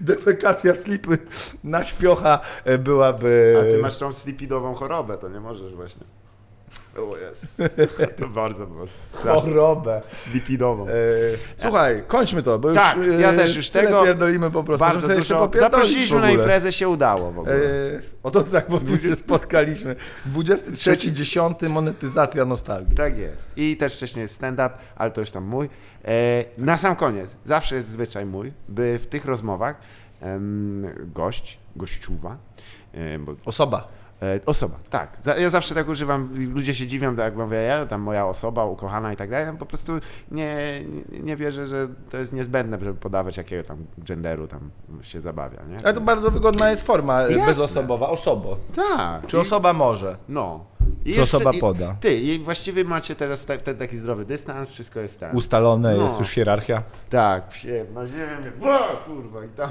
Defekacja slipy na śpiocha e, byłaby. A ty masz tą slipidową chorobę, to nie możesz właśnie. O jest. [LAUGHS] To bardzo było straszne. chorobę. Slipidową. E, Słuchaj, kończmy to, bo już. Tak, ja e, też już tyle tego pierdolimy po prostu. Możemy Bardzo sobie jeszcze dużo... popierdolić Zaprosiliśmy w na ogóle. imprezę, się udało w E, ogóle. Oto tak po prostu się spotkaliśmy. 23.10. monetyzacja nostalgii. Tak jest. I też wcześniej jest stand-up, ale to już tam mój. E, na sam koniec, zawsze jest zwyczaj mój, by w tych rozmowach em, gość, gościuwa, e, bo Osoba. E, Osoba, tak. Za- Ja zawsze tak używam, ludzie się dziwią, tak jak mówię, ja, tam moja osoba, ukochana i tak dalej, ja po prostu nie, nie, nie wierzę, że to jest niezbędne, żeby podawać jakiego tam genderu tam się zabawia, nie? Ale to bardzo wygodna jest forma e, Jasne. bezosobowa. Osobo. Tak. Czy osoba może? No. I Czy osoba poda? I, ty, i właściwie macie teraz ta, wtedy taki zdrowy dystans, wszystko jest tak. Ustalone, No. jest już [LAUGHS] hierarchia. tak, psie, na ziemię, bo, kurwa, i tam...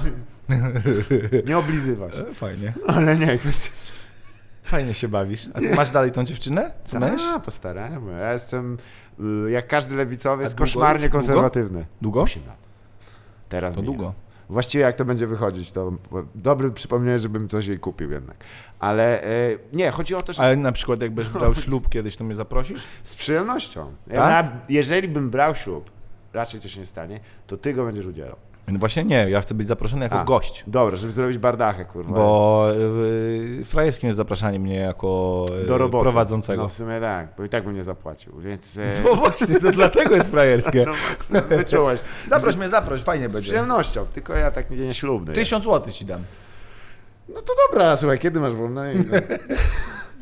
Nie oblizywasz. E? Fajnie. Ale nie, kwestia... Fajnie się bawisz. A ty masz dalej tą dziewczynę? Co myś? A, postarałem. Ja jestem, y, jak każdy lewicowy, jest długo koszmarnie już? Długo? konserwatywny. Długo? 8 lat. Teraz To mija. długo. Właściwie jak to będzie wychodzić, to dobry przypomnienie, żebym coś jej kupił jednak. Ale e, nie, chodzi o to, że Ale na [LAUGHS] przykład jak będziesz brał ślub kiedyś, to mnie zaprosisz? z przyjemnością. Ja, Tak? na- jeżeli bym brał ślub, raczej to się nie stanie, to ty go będziesz udzielał. No właśnie nie, ja chcę być zaproszony jako A. No gość. Dobra, żeby zrobić bardachę, kurwa. Bo yy, frajerskim jest zapraszanie mnie jako yy, do roboty. prowadzącego. No w sumie tak, bo i tak bym nie zapłacił, więc... E, [LAUGHS] Bo właśnie, to dlatego jest frajerskie. no właśnie, [LAUGHS] wyczułeś. Zaproś mnie, zaproś, fajnie Z będzie. przyjemnością, tylko ja tak nie ślubny. Tysiąc złotych ci dam. No to dobra, słuchaj, kiedy masz wolne?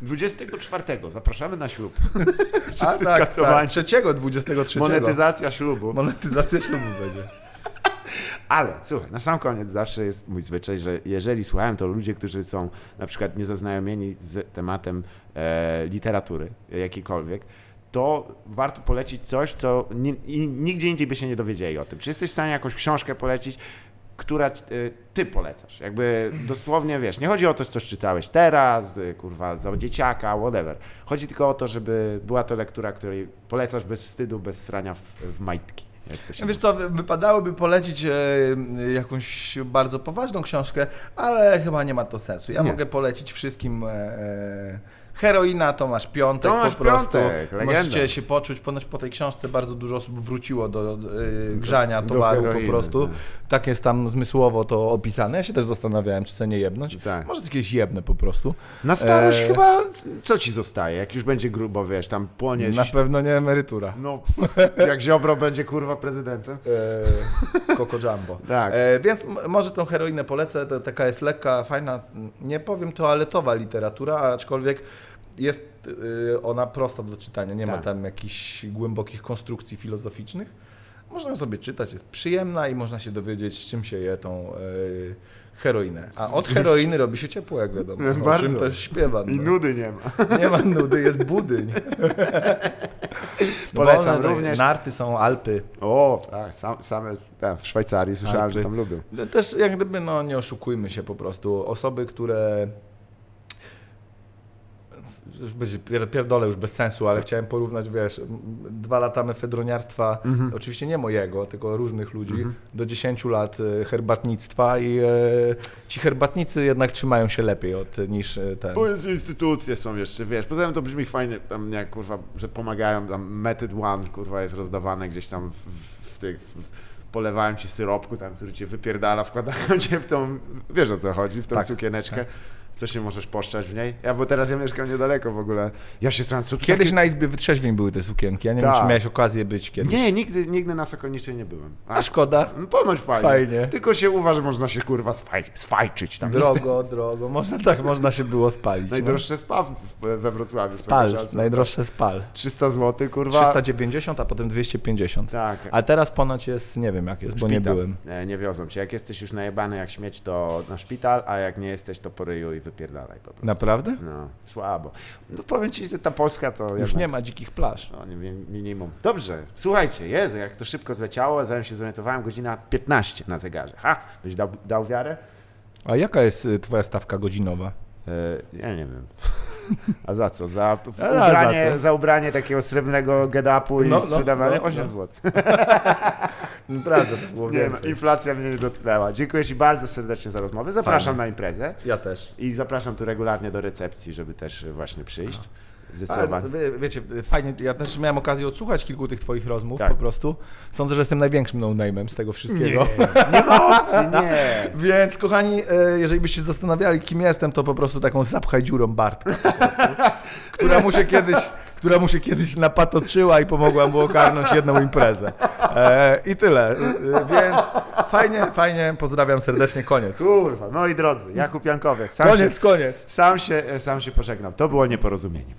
24 zapraszamy na ślub. Wszyscy skacowani. tak, Trzeciego, 23. Monetyzacja ślubu. Monetyzacja ślubu będzie. Ale słuchaj, na sam koniec zawsze jest mój zwyczaj, że jeżeli słuchałem, to ludzie, którzy są na przykład niezaznajomieni z tematem e, literatury e, jakiejkolwiek, to warto polecić coś, co ni i nigdzie indziej by się nie dowiedzieli o tym. Czy jesteś w stanie jakąś książkę polecić, która e, ty polecasz? Jakby dosłownie wiesz, nie chodzi o to, co czytałeś teraz, e, kurwa, za dzieciaka, whatever. Chodzi tylko o to, żeby była to lektura, której polecasz bez wstydu, bez strania w, w majtki. Jak to się Wiesz co, wy- wypadałoby polecić e, jakąś bardzo poważną książkę, ale chyba nie ma to sensu. Ja Nie. mogę polecić wszystkim e, e, Heroina Tomasz Piątek Tomasz po prostu. Piątek, legenda. Możecie się poczuć, ponoć po tej książce bardzo dużo osób wróciło do y, grzania Do towaru heroiny, po prostu. tak. Tak. jest tam zmysłowo to opisane. Ja się też zastanawiałem, czy se nie jebnąć. Tak. Może jakieś jebne po prostu. Na starość E, chyba co ci zostaje, jak już będzie grubo, wiesz, tam płoniesz. Na pewno nie emerytura. No, jak Ziobro będzie kurwa prezydentem. E, Coco Jumbo. [LAUGHS] Tak. E, więc m- może tą heroinę polecę, to taka jest lekka, fajna, m, nie powiem toaletowa literatura, aczkolwiek jest y, ona prosta do czytania, nie ma Tak. tam jakichś głębokich konstrukcji filozoficznych. Można ją sobie czytać, jest przyjemna i można się dowiedzieć, z czym się je tą y, heroinę. A [LAUGHS] od heroiny robi się ciepło, jak wiadomo. No, O bardzo. czym też śpiewam. I No. nudy nie ma. Nie ma nudy, jest budyń. [LAUGHS] Polecam Wolne, tak, również. Narty są Alpy. O, tak, sam, same tak, w Szwajcarii słyszałem, Alpy. że tam lubią. No Też jak gdyby, no nie oszukujmy się po prostu, osoby, które już będzie pier- pierdolę już bez sensu, ale chciałem porównać, wiesz, m- dwa lata mefedroniarstwa, Mhm. oczywiście nie mojego, tylko różnych ludzi, do 10 lat e, herbatnictwa i e, ci herbatnicy jednak trzymają się lepiej od niż e, ten. Bo jest instytucje są jeszcze, wiesz, poza tym to brzmi fajnie, tam jak kurwa, że pomagają, tam Method One kurwa jest rozdawane gdzieś tam w, w, w tych, w, polewają ci syropku tam, który cię wypierdala, wkładają cię w tą, wiesz o co chodzi, w tą Tak, sukieneczkę. Co się możesz poszczać w niej? Ja, bo teraz ja mieszkam niedaleko w ogóle. Ja się sam co tu Kiedyś takie- na izbie wytrzeźwień były te sukienki, ja nie wiem, Tak. czy miałeś okazję być kiedyś. Nie, nigdy, nigdy na Sokolniczej nie byłem. A szkoda. No Ponoć fajnie. Fajnie. Tylko się uważa, że można się kurwa swaj, swajczyć tam. Drogo, drogo, można tak, można się było spalić. no. Najdroższe spaw w- we Wrocławiu. Spal, swego czasu. najdroższe spal. 300 zł, kurwa. 390, a potem 250. Tak. A teraz ponoć jest, nie wiem jak jest, bo nie Szpital. byłem. E, Nie wiozą cię. Jak jesteś już najebany jak śmieć, to na szpital, a jak nie jesteś, to poryju i wypierdalaj po prostu. Naprawdę? No, słabo. No powiem ci, że ta Polska to Już nie ma dzikich plaż. No, nie wiem, minimum. Dobrze, słuchajcie, Jezu, jak to szybko zleciało, zanim się zorientowałem, godzina 15 na zegarze. Ha, byś dał, dał wiarę? A jaka jest y, twoja stawka godzinowa? E, ja nie wiem. A za co? Za, w- A za ubranie, za, co? ubranie takiego srebrnego gedapu i No, no, sprzedawanie no, 8 no. zł. [LAUGHS] Prawda, to było Nie, no, inflacja mnie nie dotknęła. Dziękuję Ci bardzo serdecznie za rozmowę. Zapraszam na imprezę Ja też. i zapraszam tu regularnie do recepcji, żeby też e, właśnie przyjść. No. Ale, Zdecydowanie. no, wie- wiecie, fajnie, ja też miałem okazję odsłuchać kilku tych twoich rozmów Tak. po prostu. Sądzę, że jestem największym no-name'em z tego wszystkiego. Nie ma opcji, nie. Więc kochani, e, jeżeli byście się zastanawiali, kim jestem, to po prostu taką zapchaj dziurą Bartka, po prostu, która mu się kiedyś, która mu się kiedyś napatoczyła i pomogła mu ogarnąć jedną imprezę. E, I tyle. E, więc fajnie, fajnie, pozdrawiam serdecznie, [LAUGHS] koniec. Kurwa, moi drodzy, Jakub Jankowiak. Sam Koniec, Się, koniec. sam, się, sam się pożegnał. To było nieporozumienie.